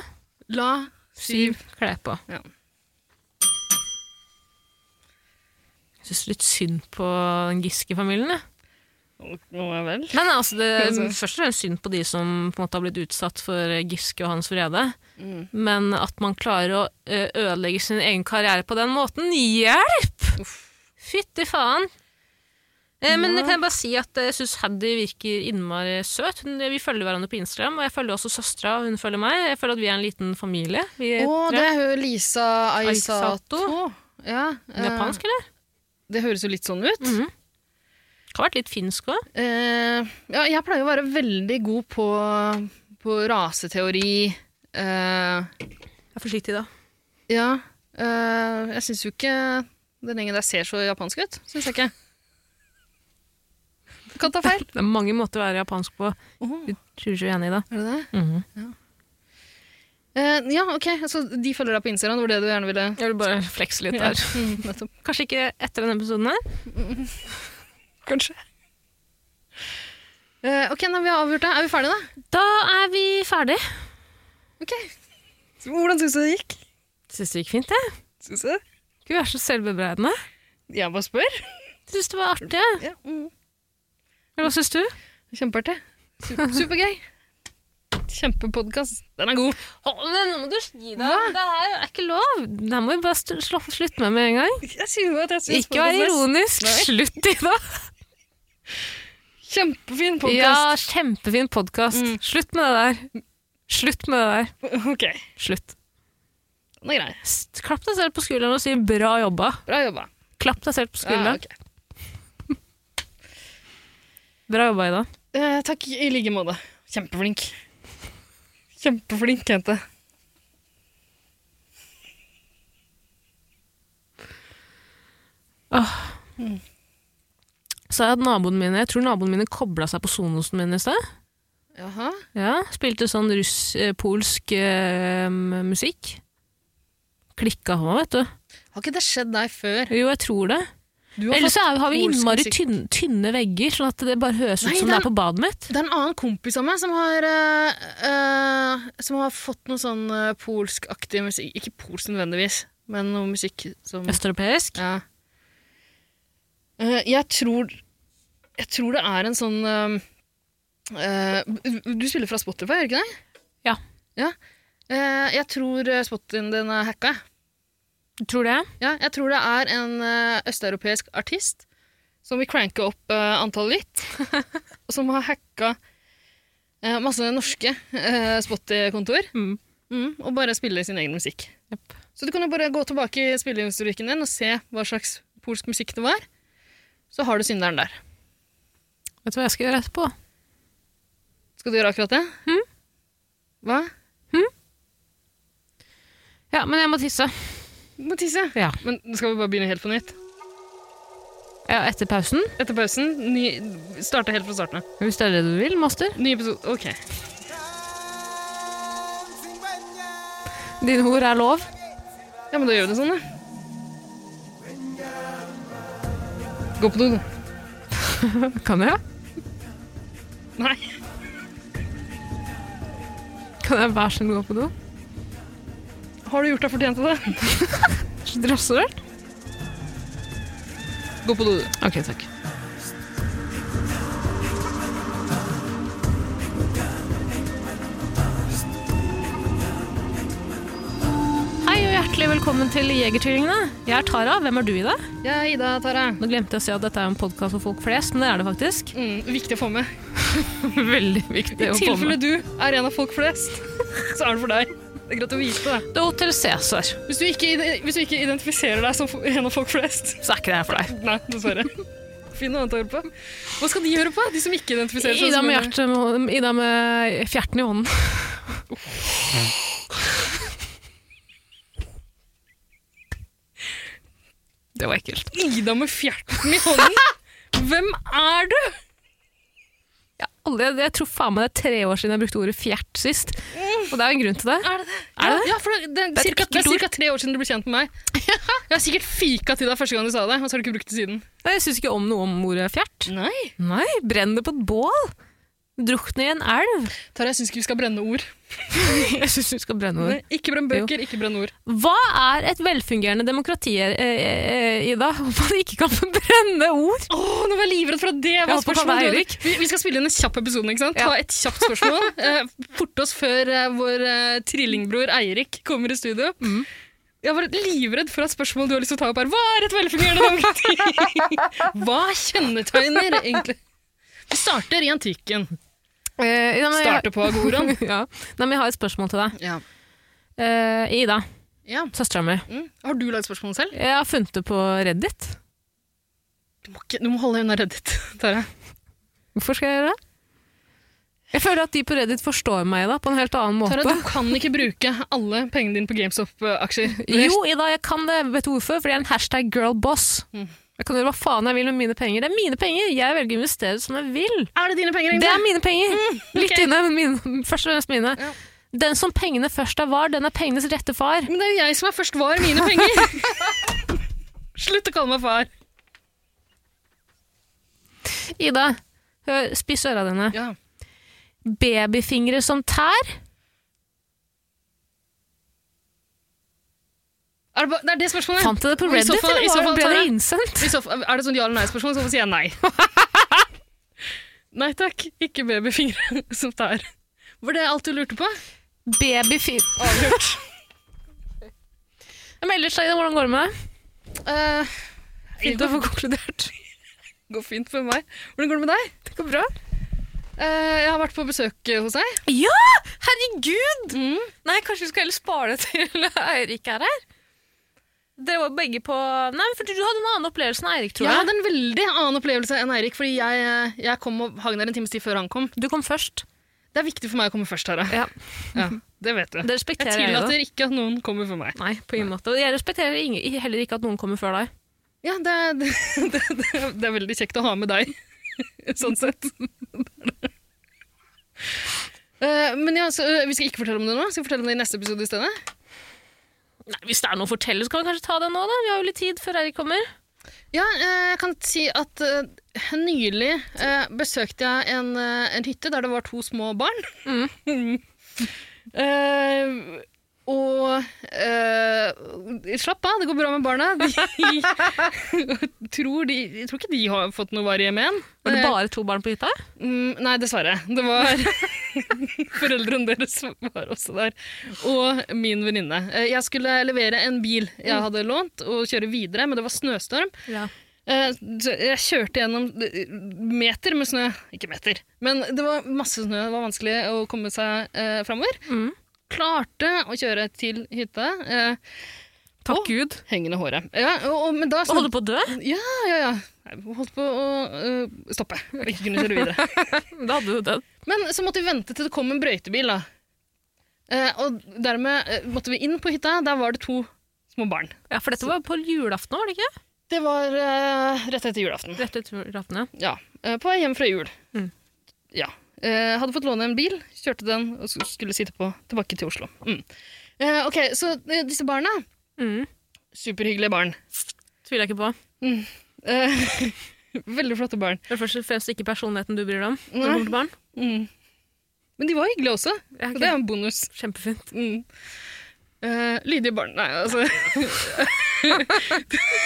Speaker 2: La
Speaker 1: Siv kle på.
Speaker 2: Ja.
Speaker 1: Jeg syns litt synd på den Giske-familien. jeg.
Speaker 2: Nå er vel.
Speaker 1: Men altså, det er
Speaker 2: Altså.
Speaker 1: først og fremst synd på de som på en måte har blitt utsatt for Giske og hans vrede. Men at man klarer å ø, ødelegge sin egen karriere på den måten Hjelp! Fytti faen! Eh, Men
Speaker 2: Ja.
Speaker 1: kan jeg bare si at jeg syns Haddy virker innmari søt. Hun, vi følger hverandre på Instagram, og jeg følger også søstera, og hun følger meg. Jeg føler at vi er en liten familie. Vi
Speaker 2: Å,
Speaker 1: er
Speaker 2: det
Speaker 1: tre.
Speaker 2: er hun Lisa Aisato.
Speaker 1: Aisato.
Speaker 2: Ja, eh,
Speaker 1: Japansk, eller?
Speaker 2: det høres jo litt sånn ut.
Speaker 1: Mhm. Kan ha vært litt finsk òg.
Speaker 2: Eh, ja, jeg pleier å være veldig god på, på raseteori. Eh,
Speaker 1: Vær forsiktig, da.
Speaker 2: ja, eh, jeg syns jo ikke den gjengen der ser så japansk ut. Syns jeg ikke. Du kan ta feil.
Speaker 1: Det er mange måter å være japansk på.
Speaker 2: Åh.
Speaker 1: Du tror ikke du er enig i det?
Speaker 2: Er det det?
Speaker 1: Mhm.
Speaker 2: Eh, ja, ok. Så de følger deg på Instagram? Det var det du gjerne ville
Speaker 1: Jeg vil bare flekse litt
Speaker 2: Ja,
Speaker 1: der.
Speaker 2: mm, nettopp.
Speaker 1: Kanskje ikke etter denne episoden her.
Speaker 2: Kanskje. Eh, ok, nei, vi har avgjort det. Er vi ferdige, da?
Speaker 1: Da er vi ferdig.
Speaker 2: Ok. Så Hvordan syns du det gikk?
Speaker 1: Syns det gikk fint, jeg.
Speaker 2: Syns du?
Speaker 1: Skulle være så selvbebreidende.
Speaker 2: Jeg bare spør.
Speaker 1: Syns det var artig. jeg.
Speaker 2: Ja. Mm.
Speaker 1: Eller hva syns du?
Speaker 2: Kjempeartig. Super, supergøy. Kjempepodkast. Den er god.
Speaker 1: nå må du gi deg. Det her er ikke lov. Det her må vi bare st- slå- slutte med med en gang.
Speaker 2: Jeg sier jo at jeg synes
Speaker 1: Ikke vær
Speaker 2: podcast er
Speaker 1: ironisk.
Speaker 2: Nei.
Speaker 1: Slutt i det.
Speaker 2: Kjempefin
Speaker 1: Ja,
Speaker 2: podkast.
Speaker 1: kjempefin podkast.
Speaker 2: Mm.
Speaker 1: Slutt med det der. Slutt med det der.
Speaker 2: Ok,
Speaker 1: Slutt.
Speaker 2: den er grei.
Speaker 1: S- Klapp deg selv på skulderen og si 'bra jobba'.
Speaker 2: Bra jobba.
Speaker 1: Klapp deg selv på
Speaker 2: Ja,
Speaker 1: skulderen.
Speaker 2: ok.
Speaker 1: Bra jobba, Ida.
Speaker 2: Eh, takk i like måte. Kjempeflink. Kjempeflink jente.
Speaker 1: Sa jeg at naboen mine, jeg tror naboen mine kobla seg på sonosen min i sted.
Speaker 2: Jaha.
Speaker 1: Ja, spilte sånn russ-polsk eh, musikk. Klikka han, vet du.
Speaker 2: Har ikke det skjedd deg før?
Speaker 1: Jo, jeg tror det.
Speaker 2: Du har
Speaker 1: Ellers så
Speaker 2: fått-
Speaker 1: er, har vi
Speaker 2: polsk
Speaker 1: innmari
Speaker 2: musikk.
Speaker 1: tynne, tynne vegger, sånn at det bare høres ut
Speaker 2: Nei,
Speaker 1: som det
Speaker 2: den-
Speaker 1: er på badet mitt.
Speaker 2: Det er en annen kompis av meg som har, eh, eh, som har fått noe sånn eh, polskaktig musikk. Ikke polsk nødvendigvis, men noe musikk som
Speaker 1: Østeuropeisk.
Speaker 2: Ja. Eh, jeg tror Jeg tror det er en sånn eh, eh, Du spiller fra Spotify, gjør du ikke det?
Speaker 1: Ja.
Speaker 2: Ja. Eh, jeg tror eh, Spotify-en din er hacka. jeg.
Speaker 1: Tror det.
Speaker 2: Ja, jeg tror det er en eh, østeuropeisk artist som vil cranke opp eh, antallet litt, og som har hacka eh, masse norske uh, Spotify-kontor,
Speaker 1: Mm.
Speaker 2: mm, og bare spiller sin egen musikk.
Speaker 1: Jepp.
Speaker 2: Så du kan jo bare gå tilbake i spillehistorikken din og se hva slags polsk musikk det var. Så har du synderen der.
Speaker 1: Vet du hva jeg skal gjøre etterpå?
Speaker 2: Skal du gjøre akkurat det?
Speaker 1: Mm.
Speaker 2: Hva?
Speaker 1: Ja, men jeg må tisse.
Speaker 2: Du må tisse.
Speaker 1: Ja.
Speaker 2: Men skal vi bare begynne helt på nytt?
Speaker 1: ja etter pausen.
Speaker 2: Etter pausen, ny, starte helt fra starten av.
Speaker 1: Hvis det er det du vil, master.
Speaker 2: Ny episode. Ok.
Speaker 1: Dine ord er lov.
Speaker 2: Ja, men da gjør vi det sånn, da. Gå på do, du.
Speaker 1: Kan jeg?
Speaker 2: Nei.
Speaker 1: Kan jeg være så snill gå på do?
Speaker 2: Har du gjort deg fortjent til det?
Speaker 1: Så drassrørt.
Speaker 2: Gå på do, du.
Speaker 1: Ok, takk. Hei og hjertelig velkommen til Jegertvillingene. Jeg er Tara, hvem er du i det?
Speaker 2: Jeg er Ida Tara.
Speaker 1: Nå glemte jeg å si at dette er en podkast for folk flest, men det er det faktisk.
Speaker 2: Mm, viktig å få med.
Speaker 1: Veldig viktig
Speaker 2: I
Speaker 1: å få
Speaker 2: tilfelle
Speaker 1: med.
Speaker 2: du er en av folk flest, så er det for deg. Det er greit å vite det.
Speaker 1: Det er Hotel Cæsar,
Speaker 2: Hvis du ikke, ide- hvis du ikke identifiserer deg som fo- en av folk flest
Speaker 1: så er ikke det her for deg.
Speaker 2: Nei, dessverre. Finn noe annet å høre på. Hva skal de høre på, de som ikke identifiserer seg
Speaker 1: Ida
Speaker 2: som
Speaker 1: med, hjertet, må- Ida med fjerten i hånden. Det var ekkelt.
Speaker 2: Ida med fjerten i hånden? Hvem er du?
Speaker 1: Jeg, har aldri, jeg tror faen meg det er tre år siden jeg brukte ordet fjert sist. Og det er en grunn til det.
Speaker 2: Er det det?
Speaker 1: Er det
Speaker 2: Ja, ja, for det, det,
Speaker 1: Det
Speaker 2: er
Speaker 1: er et
Speaker 2: cirka, det
Speaker 1: ekkelt
Speaker 2: er cirka tre år siden du ble kjent med meg. Jeg har sikkert fika til deg første gang du sa det, og så har du ikke brukt det siden.
Speaker 1: Nei, Jeg syns ikke om noe om ordet fjert.
Speaker 2: Nei.
Speaker 1: Nei, Brenn det på et bål! Drukne i en elv.
Speaker 2: Tara, jeg syns ikke vi skal brenne ord.
Speaker 1: Jeg syns du skal brenne
Speaker 2: Nei,
Speaker 1: over.
Speaker 2: ikke brenn bøker, ikke brenn ord.
Speaker 1: Hva er et velfungerende demokrati, eh, eh, Ida, om man ikke kan få brenne ord?
Speaker 2: Å, nå var jeg livredd for at det var
Speaker 1: håper
Speaker 2: spørsmålet!
Speaker 1: på deg,
Speaker 2: du hadde-
Speaker 1: Eirik.
Speaker 2: Vi, vi skal spille inn en kjapp episode, ikke sant?
Speaker 1: Ja.
Speaker 2: Ta et kjapt spørsmål. eh, Forte oss før eh, vår eh, trillingbror Eirik kommer i studio.
Speaker 1: Mm.
Speaker 2: Jeg var livredd for at spørsmålet du har lyst til å ta opp, er hva er et velfungerende demokrati? hva kjennetegner egentlig Vi starter i antikken.
Speaker 1: Eh, ja, men jeg-
Speaker 2: Starter på agoraen.
Speaker 1: ja. Nei, men jeg har et spørsmål til deg.
Speaker 2: Ja.
Speaker 1: Eh, Ida,
Speaker 2: ja.
Speaker 1: søstera mi.
Speaker 2: Mm. Har du lagd spørsmålet selv?
Speaker 1: Jeg har funnet det på Reddit.
Speaker 2: Du må, ikke, du må holde deg unna Reddit, Tara.
Speaker 1: Hvorfor skal jeg gjøre det? Jeg føler at de på Reddit forstår meg da, på en helt annen måte.
Speaker 2: Tara, du kan ikke bruke alle pengene dine på GameStop-aksjer.
Speaker 1: Jo, Ida, jeg kan det. Vet du hvorfor? Fordi jeg er en hashtag girlboss.
Speaker 2: Mm.
Speaker 1: Jeg kan gjøre hva faen jeg vil med mine penger. Det er mine penger! Jeg velger å investere som jeg vil.
Speaker 2: Er det dine penger,
Speaker 1: Det er
Speaker 2: egentlig?
Speaker 1: mine penger! Litt
Speaker 2: Mm. ok.
Speaker 1: inne, men mine, først og fremst mine.
Speaker 2: Ja.
Speaker 1: Den som pengene først er var, den er pengenes rette far.
Speaker 2: Men det er jo jeg som er først var mine penger. Slutt å kalle meg far.
Speaker 1: Ida, hør, spiss øra dine.
Speaker 2: Ja.
Speaker 1: Babyfingre som tær?
Speaker 2: Er det, ba- det er det spørsmålet?
Speaker 1: Fant du det på
Speaker 2: I så
Speaker 1: Reddit,
Speaker 2: fall- i så
Speaker 1: eller var
Speaker 2: fall
Speaker 1: det- ble
Speaker 2: tar
Speaker 1: det
Speaker 2: jeg-
Speaker 1: innsendt?
Speaker 2: I så fall- er det sånn ja eller nei-spørsmål, så sier jeg nei. nei takk, ikke babyfingre som tær. Var det alt du lurte på?
Speaker 1: Babyfingre
Speaker 2: Avgjort.
Speaker 1: Men ellers, Aida, hvordan går det med deg?
Speaker 2: Eh,
Speaker 1: Fint å få konkludert.
Speaker 2: det går fint med meg. Hvordan går det med deg?
Speaker 1: Det går bra.
Speaker 2: Eh, jeg har vært på besøk eh, hos deg.
Speaker 1: Ja! Herregud! Nei, kanskje vi skal heller spare det til Eirik er her? Dere var begge på Nei, men for du hadde en annen opplevelse enn Eirik, tror
Speaker 2: Jeg
Speaker 1: jeg.
Speaker 2: hadde en veldig annen opplevelse enn Eirik, fordi jeg, eh, jeg kom og hang der en times tid før han kom.
Speaker 1: Du kom først.
Speaker 2: Det er viktig for meg å komme først, Tara.
Speaker 1: Ja.
Speaker 2: Ja, det vet du.
Speaker 1: Det
Speaker 2: Jeg
Speaker 1: respekterer jeg. da.
Speaker 2: tillater ikke at noen kommer for meg.
Speaker 1: Nei, på ingen måte. Og Jeg respekterer ing- heller ikke at noen kommer før deg.
Speaker 2: Ja, det er, det, det, det er veldig kjekt å ha med deg, sånn sett. Eh, men ja, så, eh, Vi skal ikke fortelle om det nå? Skal vi fortelle om det i neste episode i stedet?
Speaker 1: Nei, hvis det er noe å fortelle, så kan vi kanskje ta det nå, da. Vi har jo litt tid før Eirik kommer.
Speaker 2: Ja, eh, jeg kan si at eh, nylig eh, besøkte jeg en, eh, en hytte der det var to små barn.
Speaker 1: Mm.
Speaker 2: Eh, og eh, slapp av, det går bra med barna. De tror de, jeg tror ikke de har fått noe varig med en.
Speaker 1: Var det bare to barn på hytta?
Speaker 2: Mm, nei, dessverre. Det var Foreldrene deres var også der. Og min venninne. Eh, Jeg skulle levere en bil
Speaker 1: Mm.
Speaker 2: jeg hadde lånt, og kjøre videre, men det var snøstorm.
Speaker 1: Ja.
Speaker 2: Eh, så Jeg kjørte gjennom eh, meter med snø. Ikke meter, men det var masse snø. Det var vanskelig å komme seg eh, framover.
Speaker 1: Mm.
Speaker 2: Klarte å kjøre til hytta. Eh,
Speaker 1: Takk
Speaker 2: Å.
Speaker 1: Gud.
Speaker 2: hengende håret. Ja, og, og, men da
Speaker 1: Og holder på å dø?
Speaker 2: Ja, ja, ja. Jeg holdt på å eh, stoppe og ikke kunne kjøre videre.
Speaker 1: Da hadde du dødd.
Speaker 2: Men så måtte vi vente til det kom en brøytebil, da. Eh, og dermed eh, måtte vi inn på hytta. Der var det to små barn.
Speaker 1: Ja, for dette var på julaften, var det ikke?
Speaker 2: Det var eh, rett etter julaften.
Speaker 1: Rett etter julaften, ja.
Speaker 2: Ja. Eh, på vei hjem fra jul.
Speaker 1: Mm.
Speaker 2: Ja. Eh, hadde fått låne en bil, kjørte den og s- skulle sitte på tilbake til Oslo. Mm. Eh, ok, så eh, disse barna
Speaker 1: Mm.
Speaker 2: Superhyggelige barn.
Speaker 1: Tviler jeg ikke på.
Speaker 2: Eh, veldig flotte barn.
Speaker 1: Det er først og fremst ikke personligheten du bryr deg om. når det
Speaker 2: Nei.
Speaker 1: kommer til barn.
Speaker 2: Mm. Men de var hyggelige også,
Speaker 1: Ja,
Speaker 2: så
Speaker 1: ok.
Speaker 2: det er en bonus.
Speaker 1: Kjempefint.
Speaker 2: Mm. Eh, lydige barn Nei, altså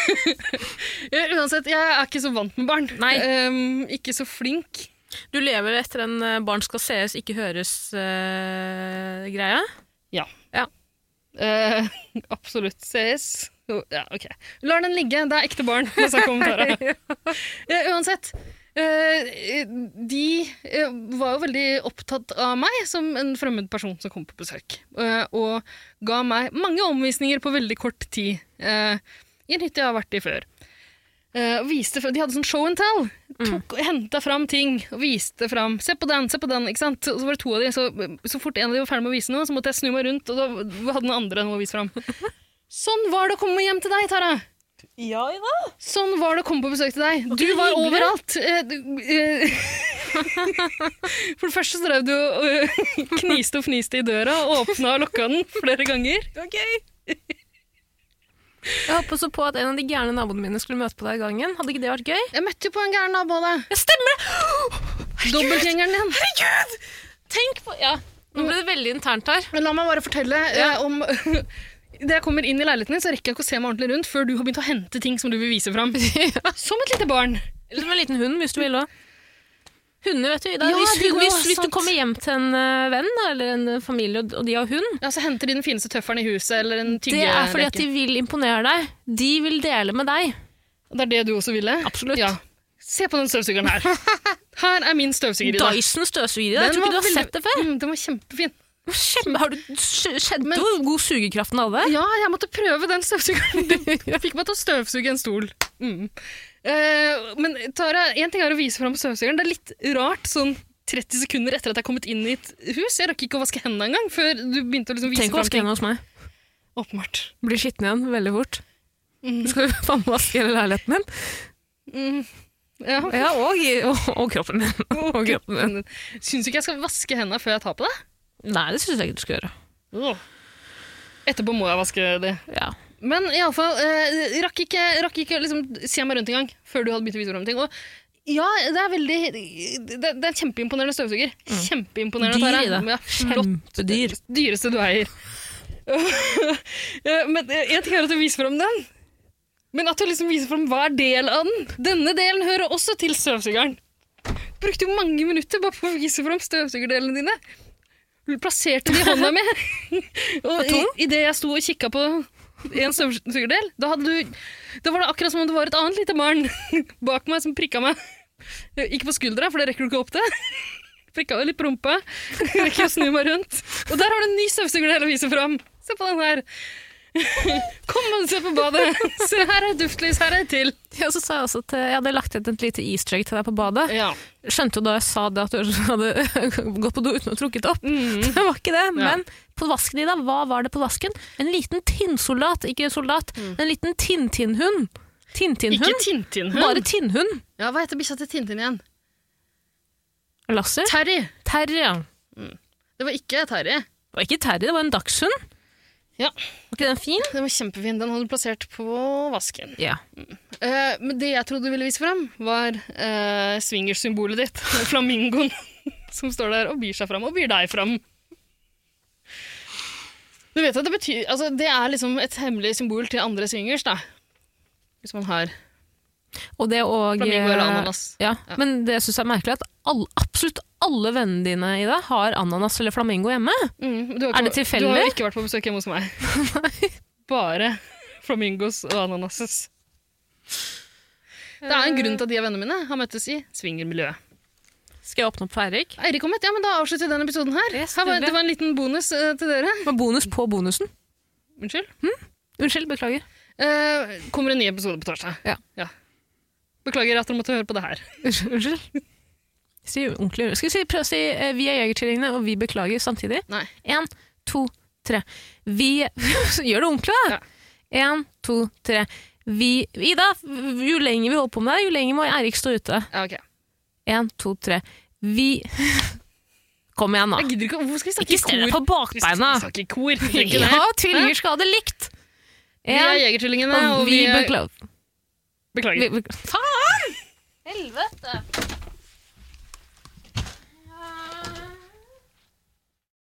Speaker 2: Ja, Uansett, jeg er ikke så vant med barn.
Speaker 1: Nei.
Speaker 2: Ehm, ikke så flink.
Speaker 1: Du lever etter en eh, barn skal sees, ikke høres-greia.
Speaker 2: Eh, absolutt. Ses. Jo, Ja, ok. Lar den ligge. Det er ekte barn. Det sa kommentarer. Ja, uansett. eh, de eh, var jo veldig opptatt av meg som en fremmed person som kom på besøk. eh, og ga meg mange omvisninger på veldig kort tid eh, i en hytte jeg har vært i før. Eh, og viste, fra- de hadde sånn show and tell. Tok, Henta fram ting og viste fram. Se på den, se på den. ikke sant? Og så var det to av de, så, så fort en av de var ferdig med å vise noe, så måtte jeg snu meg rundt, og da hadde den andre noe å vise fram. sånn var det å komme hjem til deg, Tara.
Speaker 1: Ja, Ida.
Speaker 2: Sånn var det å komme på besøk til deg.
Speaker 1: Og
Speaker 2: Du
Speaker 1: det
Speaker 2: var
Speaker 1: hyggelig.
Speaker 2: overalt. Eh, du- eh, For det første så drev du og eh, kniste og fniste i døra og åpna og lukka den flere ganger.
Speaker 1: Jeg håpa så på at en av de gærne naboene mine skulle møte på deg i gangen. Hadde ikke det vært gøy?
Speaker 2: Jeg møtte jo på en gæren nabo av deg.
Speaker 1: Ja, stemmer det!
Speaker 2: Dobbeltgjengeren din.
Speaker 1: Herregud! Tenk på Ja, nå ble det veldig internt her.
Speaker 2: Men la meg bare fortelle eh, om Da jeg kommer inn i leiligheten din, så rekker jeg ikke å se meg ordentlig rundt før du har begynt å hente ting som du vil vise fram. Som et lite barn.
Speaker 1: Eller som en liten hund, hvis du vil òg. Hunder, vet du. Ida.
Speaker 2: Ja,
Speaker 1: hvis,
Speaker 2: de går,
Speaker 1: hvis, hvis du
Speaker 2: sant.
Speaker 1: kommer hjem til en eh, venn da, eller en eh, familie, og og de har hund
Speaker 2: Ja, Så henter de den fineste tøffelen i huset eller en
Speaker 1: Det er fordi at de
Speaker 2: tyggereke.
Speaker 1: vil imponere deg. De vil dele med deg.
Speaker 2: Det er det du også ville?
Speaker 1: Absolutt.
Speaker 2: Ja. Se på den støvsugeren her. Her er min støvsuger i dag.
Speaker 1: Dyson støvsuger. Jeg tror
Speaker 2: var
Speaker 1: ikke du har
Speaker 2: veldig-
Speaker 1: sett det før.
Speaker 2: Mm, den var kjempefin.
Speaker 1: Kjempe, har du kj- kjent
Speaker 2: Men-
Speaker 1: hvor god sugekraften hadde?
Speaker 2: Ja, jeg måtte prøve den støvsugeren. Den fikk meg til å støvsuge en stol. Mm. Eh, men Tara, én ting er å vise fram støvsugeren. Det er litt rart sånn 30 sekunder etter at jeg er kommet inn i et hus. Jeg rakk ikke å vaske hendene engang før du begynte å liksom vise
Speaker 1: Tenk å
Speaker 2: fram
Speaker 1: vaske
Speaker 2: ting.
Speaker 1: hendene hos meg.
Speaker 2: Åpenbart.
Speaker 1: Blir skitten igjen veldig fort. Du skal jo faen meg vaske hele leiligheten din.
Speaker 2: Mm. Ja.
Speaker 1: Ja, og, og, og kroppen din. Og kroppen din.
Speaker 2: Syns du ikke jeg skal vaske hendene før jeg tar på det?
Speaker 1: Nei, det syns jeg ikke du skal gjøre.
Speaker 2: Etterpå må jeg vaske de.
Speaker 1: Ja.
Speaker 2: Men iallfall, eh, rakk ikke, rakk ikke liksom, se meg rundt engang før du hadde begynt å vise fram ting. Og ja, det er veldig Det, det er en kjempeimponerende støvsuger. Kjempeimponerende.
Speaker 1: Mm. Dyr
Speaker 2: Tara.
Speaker 1: i det.
Speaker 2: Ja, flott.
Speaker 1: Kjempedyr.
Speaker 2: Dyreste du eier. Eh, Men én ting er at du viser fram den, men at du liksom viser fram hver del av den. Denne delen hører også til støvsugeren. Brukte jo mange minutter bare på å vise fram støvsugerdelene dine. Du Plasserte de i hånda mi. Og i- idet jeg sto og kikka på en støvsugerdel, da, hadde du, da var det akkurat som om det var et annet lite barn bak meg som prikka meg. Eh, Ikke på skuldra, for det rekker du ikke opp til. Prikka meg litt på rumpa. Rekker å snu meg rundt. Og der har du en ny støvsugerdel å vise fram. Se på den her. Kom og se på badet. Se, her er et duftlys, her er et til.
Speaker 1: Ja, så sa jeg også at eh, jeg hadde lagt ut et lite easter egg til deg på badet.
Speaker 2: Ja.
Speaker 1: Skjønte jo da jeg sa det at du hadde gått på do uten å trukket opp.
Speaker 2: Mm.
Speaker 1: Det var ikke det, men på vasken i dag, hva var det på vasken? En liten tinnsoldat, ikke soldat, en liten tinntinnhund.
Speaker 2: Mm. Ikke
Speaker 1: Tinntinnhund?
Speaker 2: Tintin-hund.
Speaker 1: Bare tinnhund.
Speaker 2: Ja, hva heter bikkja til Tintin igjen?
Speaker 1: Lasser?
Speaker 2: Terry.
Speaker 1: Terry, ja.
Speaker 2: Det var ikke Terry.
Speaker 1: Det var ikke Terry, det var en dagshund.
Speaker 2: Ja.
Speaker 1: Var ikke den fin?
Speaker 2: Den var kjempefin. Den hadde du plassert på vasken.
Speaker 1: Ja.
Speaker 2: Eh, men det jeg trodde du ville vise fram, var uh, swingers-symbolet ditt. Flamingoen som står der og byr seg fram, og byr deg fram. Du vet at det betyr Altså, det er liksom et hemmelig symbol til andre swingers, da. Hvis man har
Speaker 1: Og det og eh,
Speaker 2: flamingo eller ananas.
Speaker 1: Ja. Men det jeg syns er merkelig, at all, absolutt alle vennene dine i dag har ananas eller flamingo hjemme.
Speaker 2: Mm, du har
Speaker 1: Er det
Speaker 2: vært- Du har
Speaker 1: tilfeldig?
Speaker 2: jo ikke vært på besøk hjemme hos meg. Bare flamingos og ananases. Det er en grunn til at de er vennene mine. Har møttes i swingermiljøet.
Speaker 1: Skal jeg åpne opp for Eirik?
Speaker 2: Eirik kom et, ja, men da avslutter vi denne episoden her.
Speaker 1: Yes,
Speaker 2: her var,
Speaker 1: nydelig.
Speaker 2: det var en liten bonus eh, til dere.
Speaker 1: Med bonus på bonusen.
Speaker 2: Unnskyld.
Speaker 1: Unnskyld, beklager.
Speaker 2: Eh, kommer en ny episode på torsdag.
Speaker 1: Ja.
Speaker 2: Beklager at dere måtte høre på det her.
Speaker 1: Unnskyld. unnskyld. Si ordentlig Skal vi si, prøve å si eh, 'vi er Jegertvillingene, og vi beklager' samtidig?
Speaker 2: Nei.
Speaker 1: Én, to, tre. Vi Så Gjør det ordentlig, da! Én, to, tre. Vi Ida, jo lenger vi holder på med det, jo lenger må Eirik stå ute.
Speaker 2: Ja, ok.
Speaker 1: Én, to, tre. Vi Kom igjen,
Speaker 2: Jeg
Speaker 1: da.
Speaker 2: gidder ikke, Hvorfor skal vi snakke
Speaker 1: Ikke stell
Speaker 2: i
Speaker 1: deg
Speaker 2: kor?
Speaker 1: på
Speaker 2: Vi
Speaker 1: bakbeina!
Speaker 2: skal snakke i kor. vi trenger ikke det.
Speaker 1: Ja, tvillinger skal ha det likt!
Speaker 2: Vi er
Speaker 1: En,
Speaker 2: Jegertvillingene, og vi,
Speaker 1: vi
Speaker 2: er-
Speaker 1: beklager
Speaker 2: Beklager.
Speaker 1: vi- Faen!